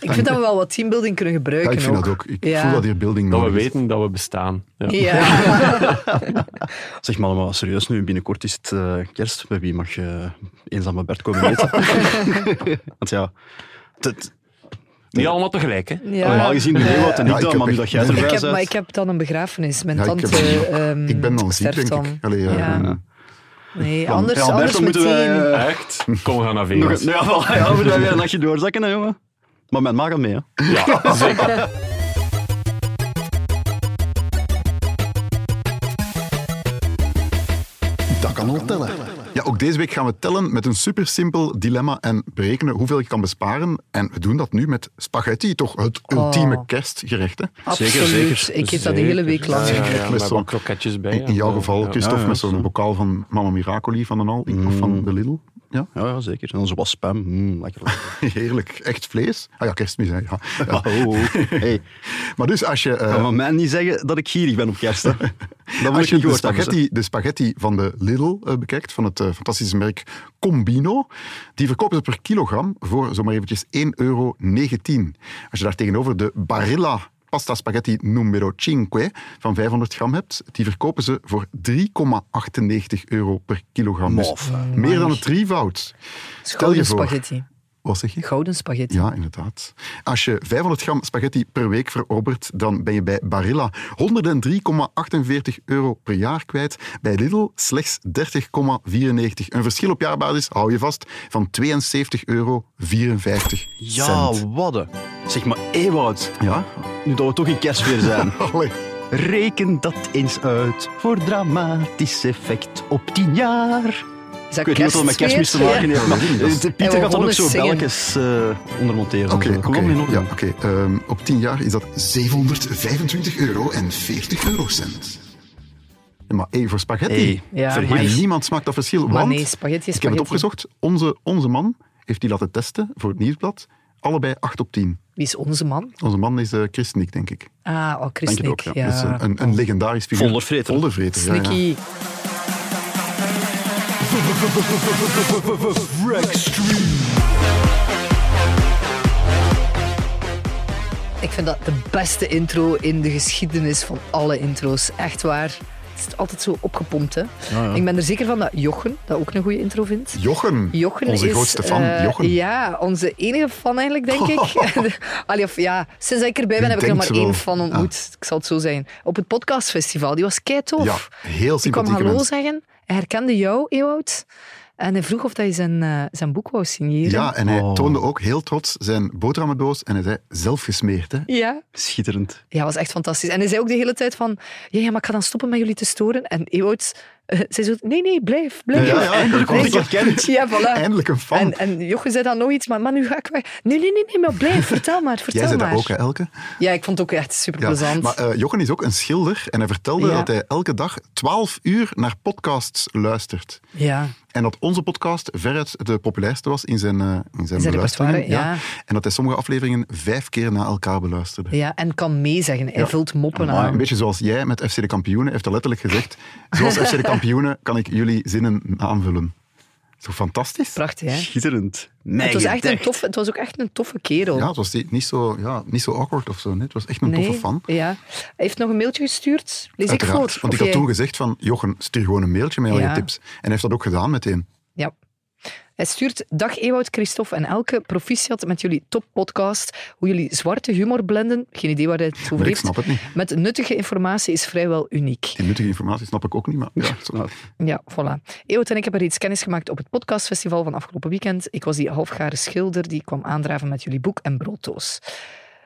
Speaker 3: Ik vind dat we wel wat teambuilding kunnen
Speaker 2: Ja,
Speaker 3: gebruiken.
Speaker 2: ah, ik vind dat ook. Ik voel dat hier building
Speaker 5: Dat we
Speaker 2: nodig is.
Speaker 5: weten dat we bestaan. Ja.
Speaker 3: Ja.
Speaker 4: Zeg maar, maar serieus nu, binnenkort is het eh, kerst. Bij wie mag je eenzame Bert komen eten? Want ja, het,
Speaker 5: Niet allemaal tegelijk, hè?
Speaker 3: Ja.
Speaker 4: normaal gezien doe Ewout en
Speaker 2: Ja,
Speaker 4: ik
Speaker 2: ik
Speaker 4: dat,
Speaker 2: heb
Speaker 4: maar nu
Speaker 2: echt-
Speaker 4: dat jij erbij
Speaker 3: Ik heb,
Speaker 4: bent...
Speaker 3: maar ik heb dan een begrafenis. Mijn
Speaker 2: Ja, ik
Speaker 3: tante
Speaker 2: heb-
Speaker 3: ehm,
Speaker 2: Ik ben dan ziek,
Speaker 3: sterft
Speaker 2: denk
Speaker 3: dan.
Speaker 2: ik. Allee, ehm, ja.
Speaker 3: Ja. Nee,
Speaker 2: plan.
Speaker 3: anders,
Speaker 4: Ja, Alberto,
Speaker 3: anders
Speaker 4: moeten
Speaker 3: meteen.
Speaker 4: wij, eh,
Speaker 5: Echt? Kom, we gaan naar
Speaker 4: Nog,
Speaker 5: Vegas.
Speaker 4: een- ja, voilà, ja, moeten wij weer een nachtje doorzakken, hè, jongen. Maar met maag al mee, hè.
Speaker 5: Ja, zeker.
Speaker 2: Dat kan al tellen. Ja, ook deze week gaan we tellen met een supersimpel dilemma en berekenen hoeveel je kan besparen. En we doen dat nu met spaghetti, toch het ultieme
Speaker 3: Oh. Ah.
Speaker 2: kerstgerecht. Hè?
Speaker 3: Absoluut. Ik
Speaker 2: Dus,
Speaker 3: eet dat
Speaker 2: eh,
Speaker 3: de hele week lang.
Speaker 5: Ja, ja, ja,
Speaker 2: Met
Speaker 5: met
Speaker 2: zo'n-
Speaker 5: wat kroketjes bij.
Speaker 2: In, in jouw
Speaker 5: ja.
Speaker 2: geval,
Speaker 5: Ja. Mm.
Speaker 2: Christophe,
Speaker 4: ja,
Speaker 2: met zo'n
Speaker 4: zo.
Speaker 2: bokaal van Mama Miracoli van een al, of van de Lidl. Ja.
Speaker 4: Ja, ja, zeker. En dan zo wat spam. Mm, lekker. lekker.
Speaker 2: Heerlijk, echt vlees. Ah ja, kerstmis, hè. Ja. Ja.
Speaker 4: Oh, hey.
Speaker 2: Maar dus als je, eh,
Speaker 4: Kan van mij niet zeggen dat ik gierig ben op kerst, hè. Dat
Speaker 2: als
Speaker 4: moet ik
Speaker 2: je
Speaker 4: niet
Speaker 2: de,
Speaker 4: gehoord hebben,
Speaker 2: spaghetti, de spaghetti van de Lidl eh, bekijkt, van het eh, fantastische merk Combino, die verkopen ze per kilogram voor zomaar eventjes 1,19 euro. Als je daar tegenover de Barilla pasta spaghetti numero 5 van 500 gram hebt, die verkopen ze voor 3,98 euro per kilogram. Dus
Speaker 4: Mof.
Speaker 2: meer dan het drievoud. Stel je
Speaker 3: Gouden
Speaker 2: voor.
Speaker 3: spaghetti.
Speaker 2: Wat zeg je?
Speaker 3: Gouden spaghetti.
Speaker 2: Ja, inderdaad. Als je 500 gram spaghetti per week verorbert, dan ben je bij Barilla 103,48 euro per jaar kwijt. Bij Lidl slechts 30,94. Een verschil op jaarbasis, hou je vast, van 72,54 euro.
Speaker 4: Ja, wadden. Zeg maar, Ewout,
Speaker 2: Ja?
Speaker 4: nu dat we toch in kerstfeer zijn.
Speaker 2: Allee.
Speaker 4: Reken dat eens uit voor dramatisch effect op tien jaar.
Speaker 3: Is dat
Speaker 4: Ik weet niet wat dat met kerstmis te
Speaker 3: kerstfeer?
Speaker 4: maken heeft,
Speaker 2: Ja.
Speaker 4: maar
Speaker 2: Ja.
Speaker 4: eh,
Speaker 3: En we
Speaker 4: Pieter gaat dan ook
Speaker 3: wonnen
Speaker 4: zo
Speaker 3: zingen.
Speaker 4: belletjes eh, ondermonteren.
Speaker 2: Oké,
Speaker 4: Kom
Speaker 2: oké.
Speaker 4: op, nu nog.
Speaker 2: ja, oké. Ehm, op 10 jaar is dat 725 euro en 40 eurocent. Ja, maar hey, voor spaghetti...
Speaker 4: Hey,
Speaker 3: Ja,
Speaker 4: verheerlijk.
Speaker 2: Maar
Speaker 3: Maar-
Speaker 2: niemand smaakt dat verschil.
Speaker 3: Maar
Speaker 2: Want,
Speaker 3: nee, spaghetti is
Speaker 2: ik heb het
Speaker 3: spaghetti.
Speaker 2: opgezocht, onze, onze man heeft die laten testen voor het nieuwsblad. Allebei 8 op 10.
Speaker 3: Wie is onze man?
Speaker 2: Onze man is eh Chris Nick, denk ik.
Speaker 3: Ah, oh, Chris eh,
Speaker 2: Denk het
Speaker 3: Nick.
Speaker 2: ook, ja.
Speaker 3: ja.
Speaker 2: Dat is een, een, een legendarisch figuur.
Speaker 4: Voldervreter.
Speaker 2: Voldervreter, ja, ja.
Speaker 3: Sneaky. Ik vind dat de beste intro in de geschiedenis van alle intro's. Echt waar. Het is altijd zo opgepompt, hè. Ik ben er zeker van dat Jochen dat ook een goede intro vindt.
Speaker 2: Jochen.
Speaker 3: Jochen
Speaker 2: Onze
Speaker 3: is,
Speaker 2: grootste fan,
Speaker 3: eh,
Speaker 2: Jochen.
Speaker 3: Ja, onze enige fan eigenlijk, denk ik. Allee, of ja, sinds dat ik erbij ben,
Speaker 2: Wie
Speaker 3: heb ik er
Speaker 2: denkt
Speaker 3: maar
Speaker 2: ze wel? Ah.
Speaker 3: één fan ontmoet. Ik zal het zo zijn. Op het podcastfestival, die was kei tof.
Speaker 2: Ja, heel
Speaker 3: ik kwam
Speaker 2: sympathieke
Speaker 3: hallo
Speaker 2: mens.
Speaker 3: zeggen, hij herkende jou, Ewout. En hij vroeg of dat je zijn, eh, zijn boek wou signeren.
Speaker 2: Ja, en hij
Speaker 4: Oh.
Speaker 2: toonde ook heel trots zijn boterhammendoos en hij zei, zelf gesmeerd, hè.
Speaker 3: ja.
Speaker 4: Schitterend.
Speaker 3: Ja, was echt fantastisch. En hij zei ook de hele tijd van... Ja, ja maar ik ga dan stoppen met jullie te storen. En Ewout eh, zei zo... Nee, nee, blijf, blijf.
Speaker 2: Ja, ja,
Speaker 3: Eindelijk
Speaker 2: ik word
Speaker 3: blijf.
Speaker 2: erkend.
Speaker 3: Ja, voilà.
Speaker 2: Eindelijk een fan.
Speaker 3: Ah. En, en Jochen zei dan nog iets, maar, maar nu ga ik weg. Nee, nee, nee, nee maar blijf, vertel maar, vertel
Speaker 2: Jij zei
Speaker 3: maar.
Speaker 2: dat ook, hè, Elke?
Speaker 3: Ja, ik vond het ook echt super
Speaker 2: Ja.
Speaker 3: plezant.
Speaker 2: Maar eh, Jochen is ook een schilder en hij vertelde
Speaker 3: Ja.
Speaker 2: dat hij elke dag 12 uur naar podcasts luistert.
Speaker 3: ja.
Speaker 2: En dat onze podcast veruit de populairste was in zijn, eh, in zijn,
Speaker 3: zijn
Speaker 2: beluisteringen.
Speaker 3: repertoire, ja.
Speaker 2: En dat hij sommige afleveringen vijf keer na elkaar beluisterde.
Speaker 3: ja, en kan meezeggen. Hij
Speaker 2: Ja.
Speaker 3: vult moppen
Speaker 2: Een
Speaker 3: aan.
Speaker 2: beetje zoals jij met FC de Kampioenen heeft hij letterlijk gezegd. Zoals FC de Kampioenen kan ik jullie zinnen aanvullen. Zo fantastisch.
Speaker 3: Prachtig, hè?
Speaker 4: Schitterend.
Speaker 3: Het was, echt een
Speaker 4: Neigedacht.
Speaker 3: toffe, het was ook echt een toffe kerel.
Speaker 2: Ja, het was niet- niet zo, ja, niet zo awkward of zo. nee. Het was echt een toffe fan.
Speaker 3: Ja. Hij heeft nog een mailtje gestuurd. Lees ik
Speaker 2: Uiteraard.
Speaker 3: voor.
Speaker 2: Want
Speaker 3: of
Speaker 2: ik had
Speaker 3: jij?
Speaker 2: toen gezegd van, Jochen, stuur gewoon een mailtje met al
Speaker 3: Ja.
Speaker 2: je tips. En hij heeft dat ook gedaan meteen.
Speaker 3: Ja. Hij stuurt, dag Ewout, Christophe en Elke, proficiat met jullie toppodcast. Hoe jullie zwarte humor blenden, geen idee waar hij het over
Speaker 2: Maar ik
Speaker 3: heeft,
Speaker 2: snap het niet.
Speaker 3: met nuttige informatie is vrijwel uniek.
Speaker 2: Die nuttige informatie snap ik ook niet, maar ja,
Speaker 4: Nou,
Speaker 2: zo.
Speaker 3: Ja, voilà. Ewout en ik hebben reeds kennis gemaakt op het podcastfestival van afgelopen weekend. Ik was die halfgare schilder die kwam aandraven met jullie boek en brooddoos.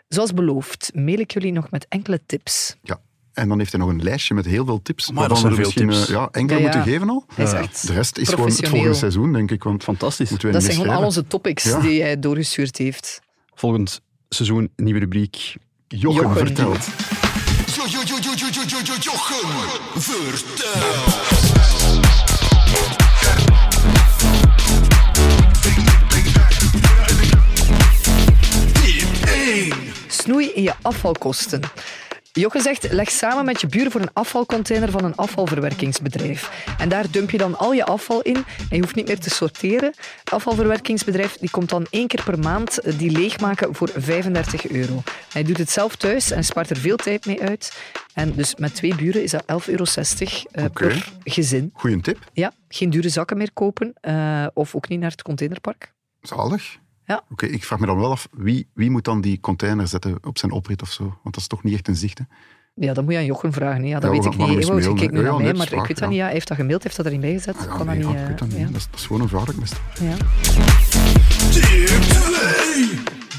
Speaker 3: Zoals beloofd, mail ik jullie nog met enkele tips.
Speaker 2: Ja. En dan heeft hij nog een lijstje met heel veel tips.
Speaker 4: Amai, dat
Speaker 2: waarvan
Speaker 4: zijn
Speaker 2: we
Speaker 4: veel
Speaker 2: misschien,
Speaker 4: tips.
Speaker 2: eh, Ja, enkele
Speaker 3: Ja, ja.
Speaker 2: moeten geven al.
Speaker 3: Hij is echt
Speaker 2: Eh, De rest is gewoon het volgende
Speaker 3: professioneel.
Speaker 2: seizoen, denk ik. Want
Speaker 4: Fantastisch.
Speaker 2: moeten wij
Speaker 3: Dat
Speaker 2: niet
Speaker 3: zijn gewoon al
Speaker 2: meer
Speaker 3: onze topics
Speaker 2: Ja.
Speaker 3: die hij doorgestuurd heeft.
Speaker 4: Volgend seizoen, nieuwe rubriek.
Speaker 2: schrijven. Jochen,
Speaker 3: Jochen.
Speaker 2: vertelt.
Speaker 3: Snoei in je afvalkosten. Jochen zegt, leg samen met je buren voor een afvalcontainer van een afvalverwerkingsbedrijf. En daar dump je dan al je afval in en je hoeft niet meer te sorteren. Het afvalverwerkingsbedrijf die komt dan één keer per maand eh, die leegmaken voor 35 euro. Hij doet het zelf thuis en spaart er veel tijd mee uit. En dus met twee buren is dat 11,60 euro eh,
Speaker 2: Oké.
Speaker 3: per gezin.
Speaker 2: Goeie tip.
Speaker 3: Ja, geen dure zakken meer kopen eh, of ook niet naar het containerpark.
Speaker 2: Zalig.
Speaker 3: Ja.
Speaker 2: Oké, ik vraag me dan wel af, wie, wie moet dan die container zetten op zijn oprit of zo? Want dat is toch niet echt een zicht, hè?
Speaker 3: Ja, dat moet je aan Jochen vragen. hè. Ja,
Speaker 2: Ja,
Speaker 3: dat weet
Speaker 2: we
Speaker 3: ik
Speaker 2: gaan
Speaker 3: niet.
Speaker 2: eens
Speaker 3: Ewout, je
Speaker 2: mailen,
Speaker 3: kijkt nu
Speaker 2: hè.
Speaker 3: naar
Speaker 2: Ja,
Speaker 3: mij,
Speaker 2: nee,
Speaker 3: maar
Speaker 2: dat is
Speaker 3: ik weet
Speaker 2: waar,
Speaker 3: dat niet. Ja, hij heeft dat gemaild, heeft dat erin bijgezet.
Speaker 2: Ah, ja,
Speaker 3: kan
Speaker 2: nee,
Speaker 3: dat
Speaker 2: ja,
Speaker 3: niet...
Speaker 2: ik
Speaker 3: eh,
Speaker 2: weet dat niet.
Speaker 3: ja.
Speaker 2: Dat is, dat is gewoon een vraag. Best.
Speaker 3: Ja.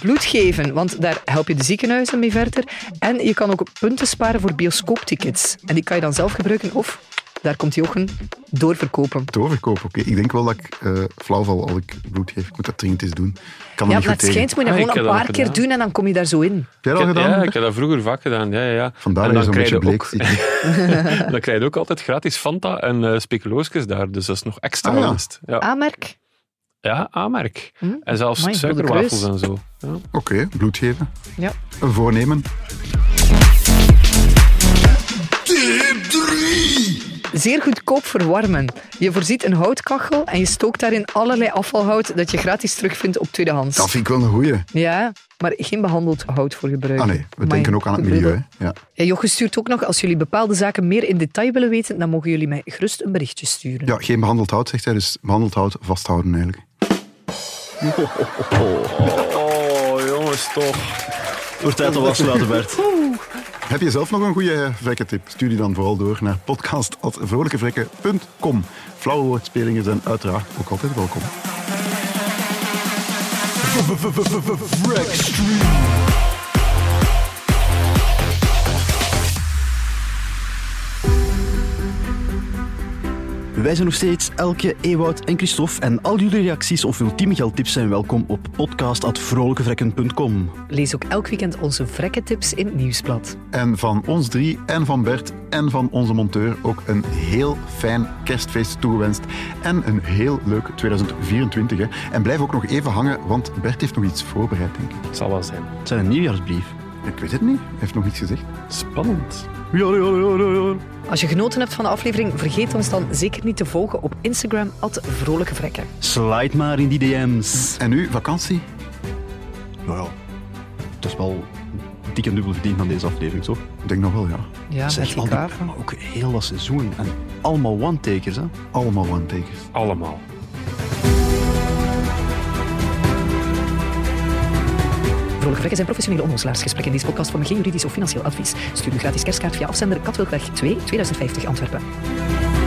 Speaker 3: Bloed geven, want daar help je de ziekenhuizen mee verder. En je kan ook punten sparen voor bioscooptickets. En die kan je dan zelf gebruiken of, daar komt Jochen, doorverkopen.
Speaker 2: Het overkopen, oké. Ik denk wel dat ik eh, flauw val als ik bloed geef. Ik moet dat dringend eens doen. Ik kan
Speaker 3: Ja,
Speaker 2: er niet
Speaker 3: maar
Speaker 2: goed
Speaker 3: het
Speaker 2: tegen.
Speaker 3: schijnt, moet je
Speaker 5: Ah,
Speaker 3: gewoon
Speaker 5: ik
Speaker 3: een
Speaker 5: heb dat
Speaker 3: paar
Speaker 5: ook
Speaker 3: keer
Speaker 5: gedaan.
Speaker 3: doen en dan kom je daar zo in.
Speaker 2: Heb jij dat al
Speaker 5: Ik heb-
Speaker 2: gedaan?
Speaker 5: Ja,
Speaker 2: Bert?
Speaker 5: ik heb dat vroeger vaak gedaan. Ja, ja, ja.
Speaker 2: Vandaar
Speaker 5: En
Speaker 2: dat je zo'n
Speaker 5: dan krijg
Speaker 2: beetje
Speaker 5: je
Speaker 2: bleek
Speaker 5: ook-
Speaker 2: ziet.
Speaker 5: Dan krijg je ook altijd gratis Fanta en eh speculoosjes daar. Dus dat is nog extra
Speaker 2: Ah, ja.
Speaker 5: winst. Ja,
Speaker 3: Aanmerk?
Speaker 5: ja aanmerk.
Speaker 3: Hm?
Speaker 5: En zelfs
Speaker 3: Amai, Rode
Speaker 5: suikerwafels
Speaker 3: Kruis.
Speaker 5: en zo. Ja.
Speaker 2: Oké, bloed geven.
Speaker 3: Ja.
Speaker 2: Een voornemen.
Speaker 3: Zeer goedkoop verwarmen. Je voorziet een houtkachel en je stookt daarin allerlei afvalhout dat je gratis terugvindt op tweedehands.
Speaker 2: Dat vind ik wel een goeie.
Speaker 3: Ja, maar geen behandeld hout voor gebruik.
Speaker 2: Ah nee, we
Speaker 3: Maar
Speaker 2: denken ook aan het
Speaker 3: goed
Speaker 2: milieu.
Speaker 3: bedoel.
Speaker 2: hè. Ja.
Speaker 3: Ja, Jochen stuurt ook nog, als jullie bepaalde zaken meer in detail willen weten, dan mogen jullie mij gerust een berichtje sturen.
Speaker 2: ja, geen behandeld hout, zegt hij. Dus behandeld hout vasthouden eigenlijk.
Speaker 5: Oh, jongens, toch.
Speaker 4: Wordt tijd om afsluiten, Bert.
Speaker 2: Heb je zelf nog een goede vrekkentip? Stuur die dan vooral door naar podcast.vrolijkevrekken.com. Flauwe woordspelingen zijn uiteraard ook altijd welkom.
Speaker 4: Wij zijn nog steeds Elke, Ewout en Christophe. En al jullie reacties of ultieme geldtips zijn welkom op podcast.vrolijkevrekken.com.
Speaker 3: Lees ook elk weekend onze vrekke tips in het nieuwsblad.
Speaker 2: En van ons drie en van Bert en van onze monteur ook een heel fijn kerstfeest toegewenst. En een heel leuk 2024. Hè. En blijf ook nog even hangen, want Bert heeft nog iets voorbereid, denk ik.
Speaker 5: Het zal wel zijn.
Speaker 4: Het zijn een nieuwjaarsbrief.
Speaker 2: Ik weet het niet. Hij heeft nog iets gezegd.
Speaker 5: Spannend.
Speaker 4: Ja, ja, ja, ja, ja.
Speaker 3: Als je genoten hebt van de aflevering, vergeet ons dan zeker niet te volgen op Instagram, at Vrolijke Vrekken.
Speaker 4: Slide maar in die DM's.
Speaker 2: En nu, vakantie?
Speaker 4: Nou ja, het is wel dik en dubbel verdiend aan deze aflevering, toch?
Speaker 2: Ik denk nog wel, ja.
Speaker 3: Ja,
Speaker 4: Zeg,
Speaker 3: met die
Speaker 4: al die-
Speaker 3: kaarten.
Speaker 4: Maar ook heel dat seizoen. En allemaal one-takers, hè?
Speaker 2: Allemaal one-takers.
Speaker 5: Allemaal.
Speaker 3: Vrolijke Vrekken zijn professionele onderzoeksgesprekken. In deze podcast vormen geen juridisch of financieel advies. Stuur uw gratis kerstkaart via afzender Katwilkweg 2 2050 Antwerpen.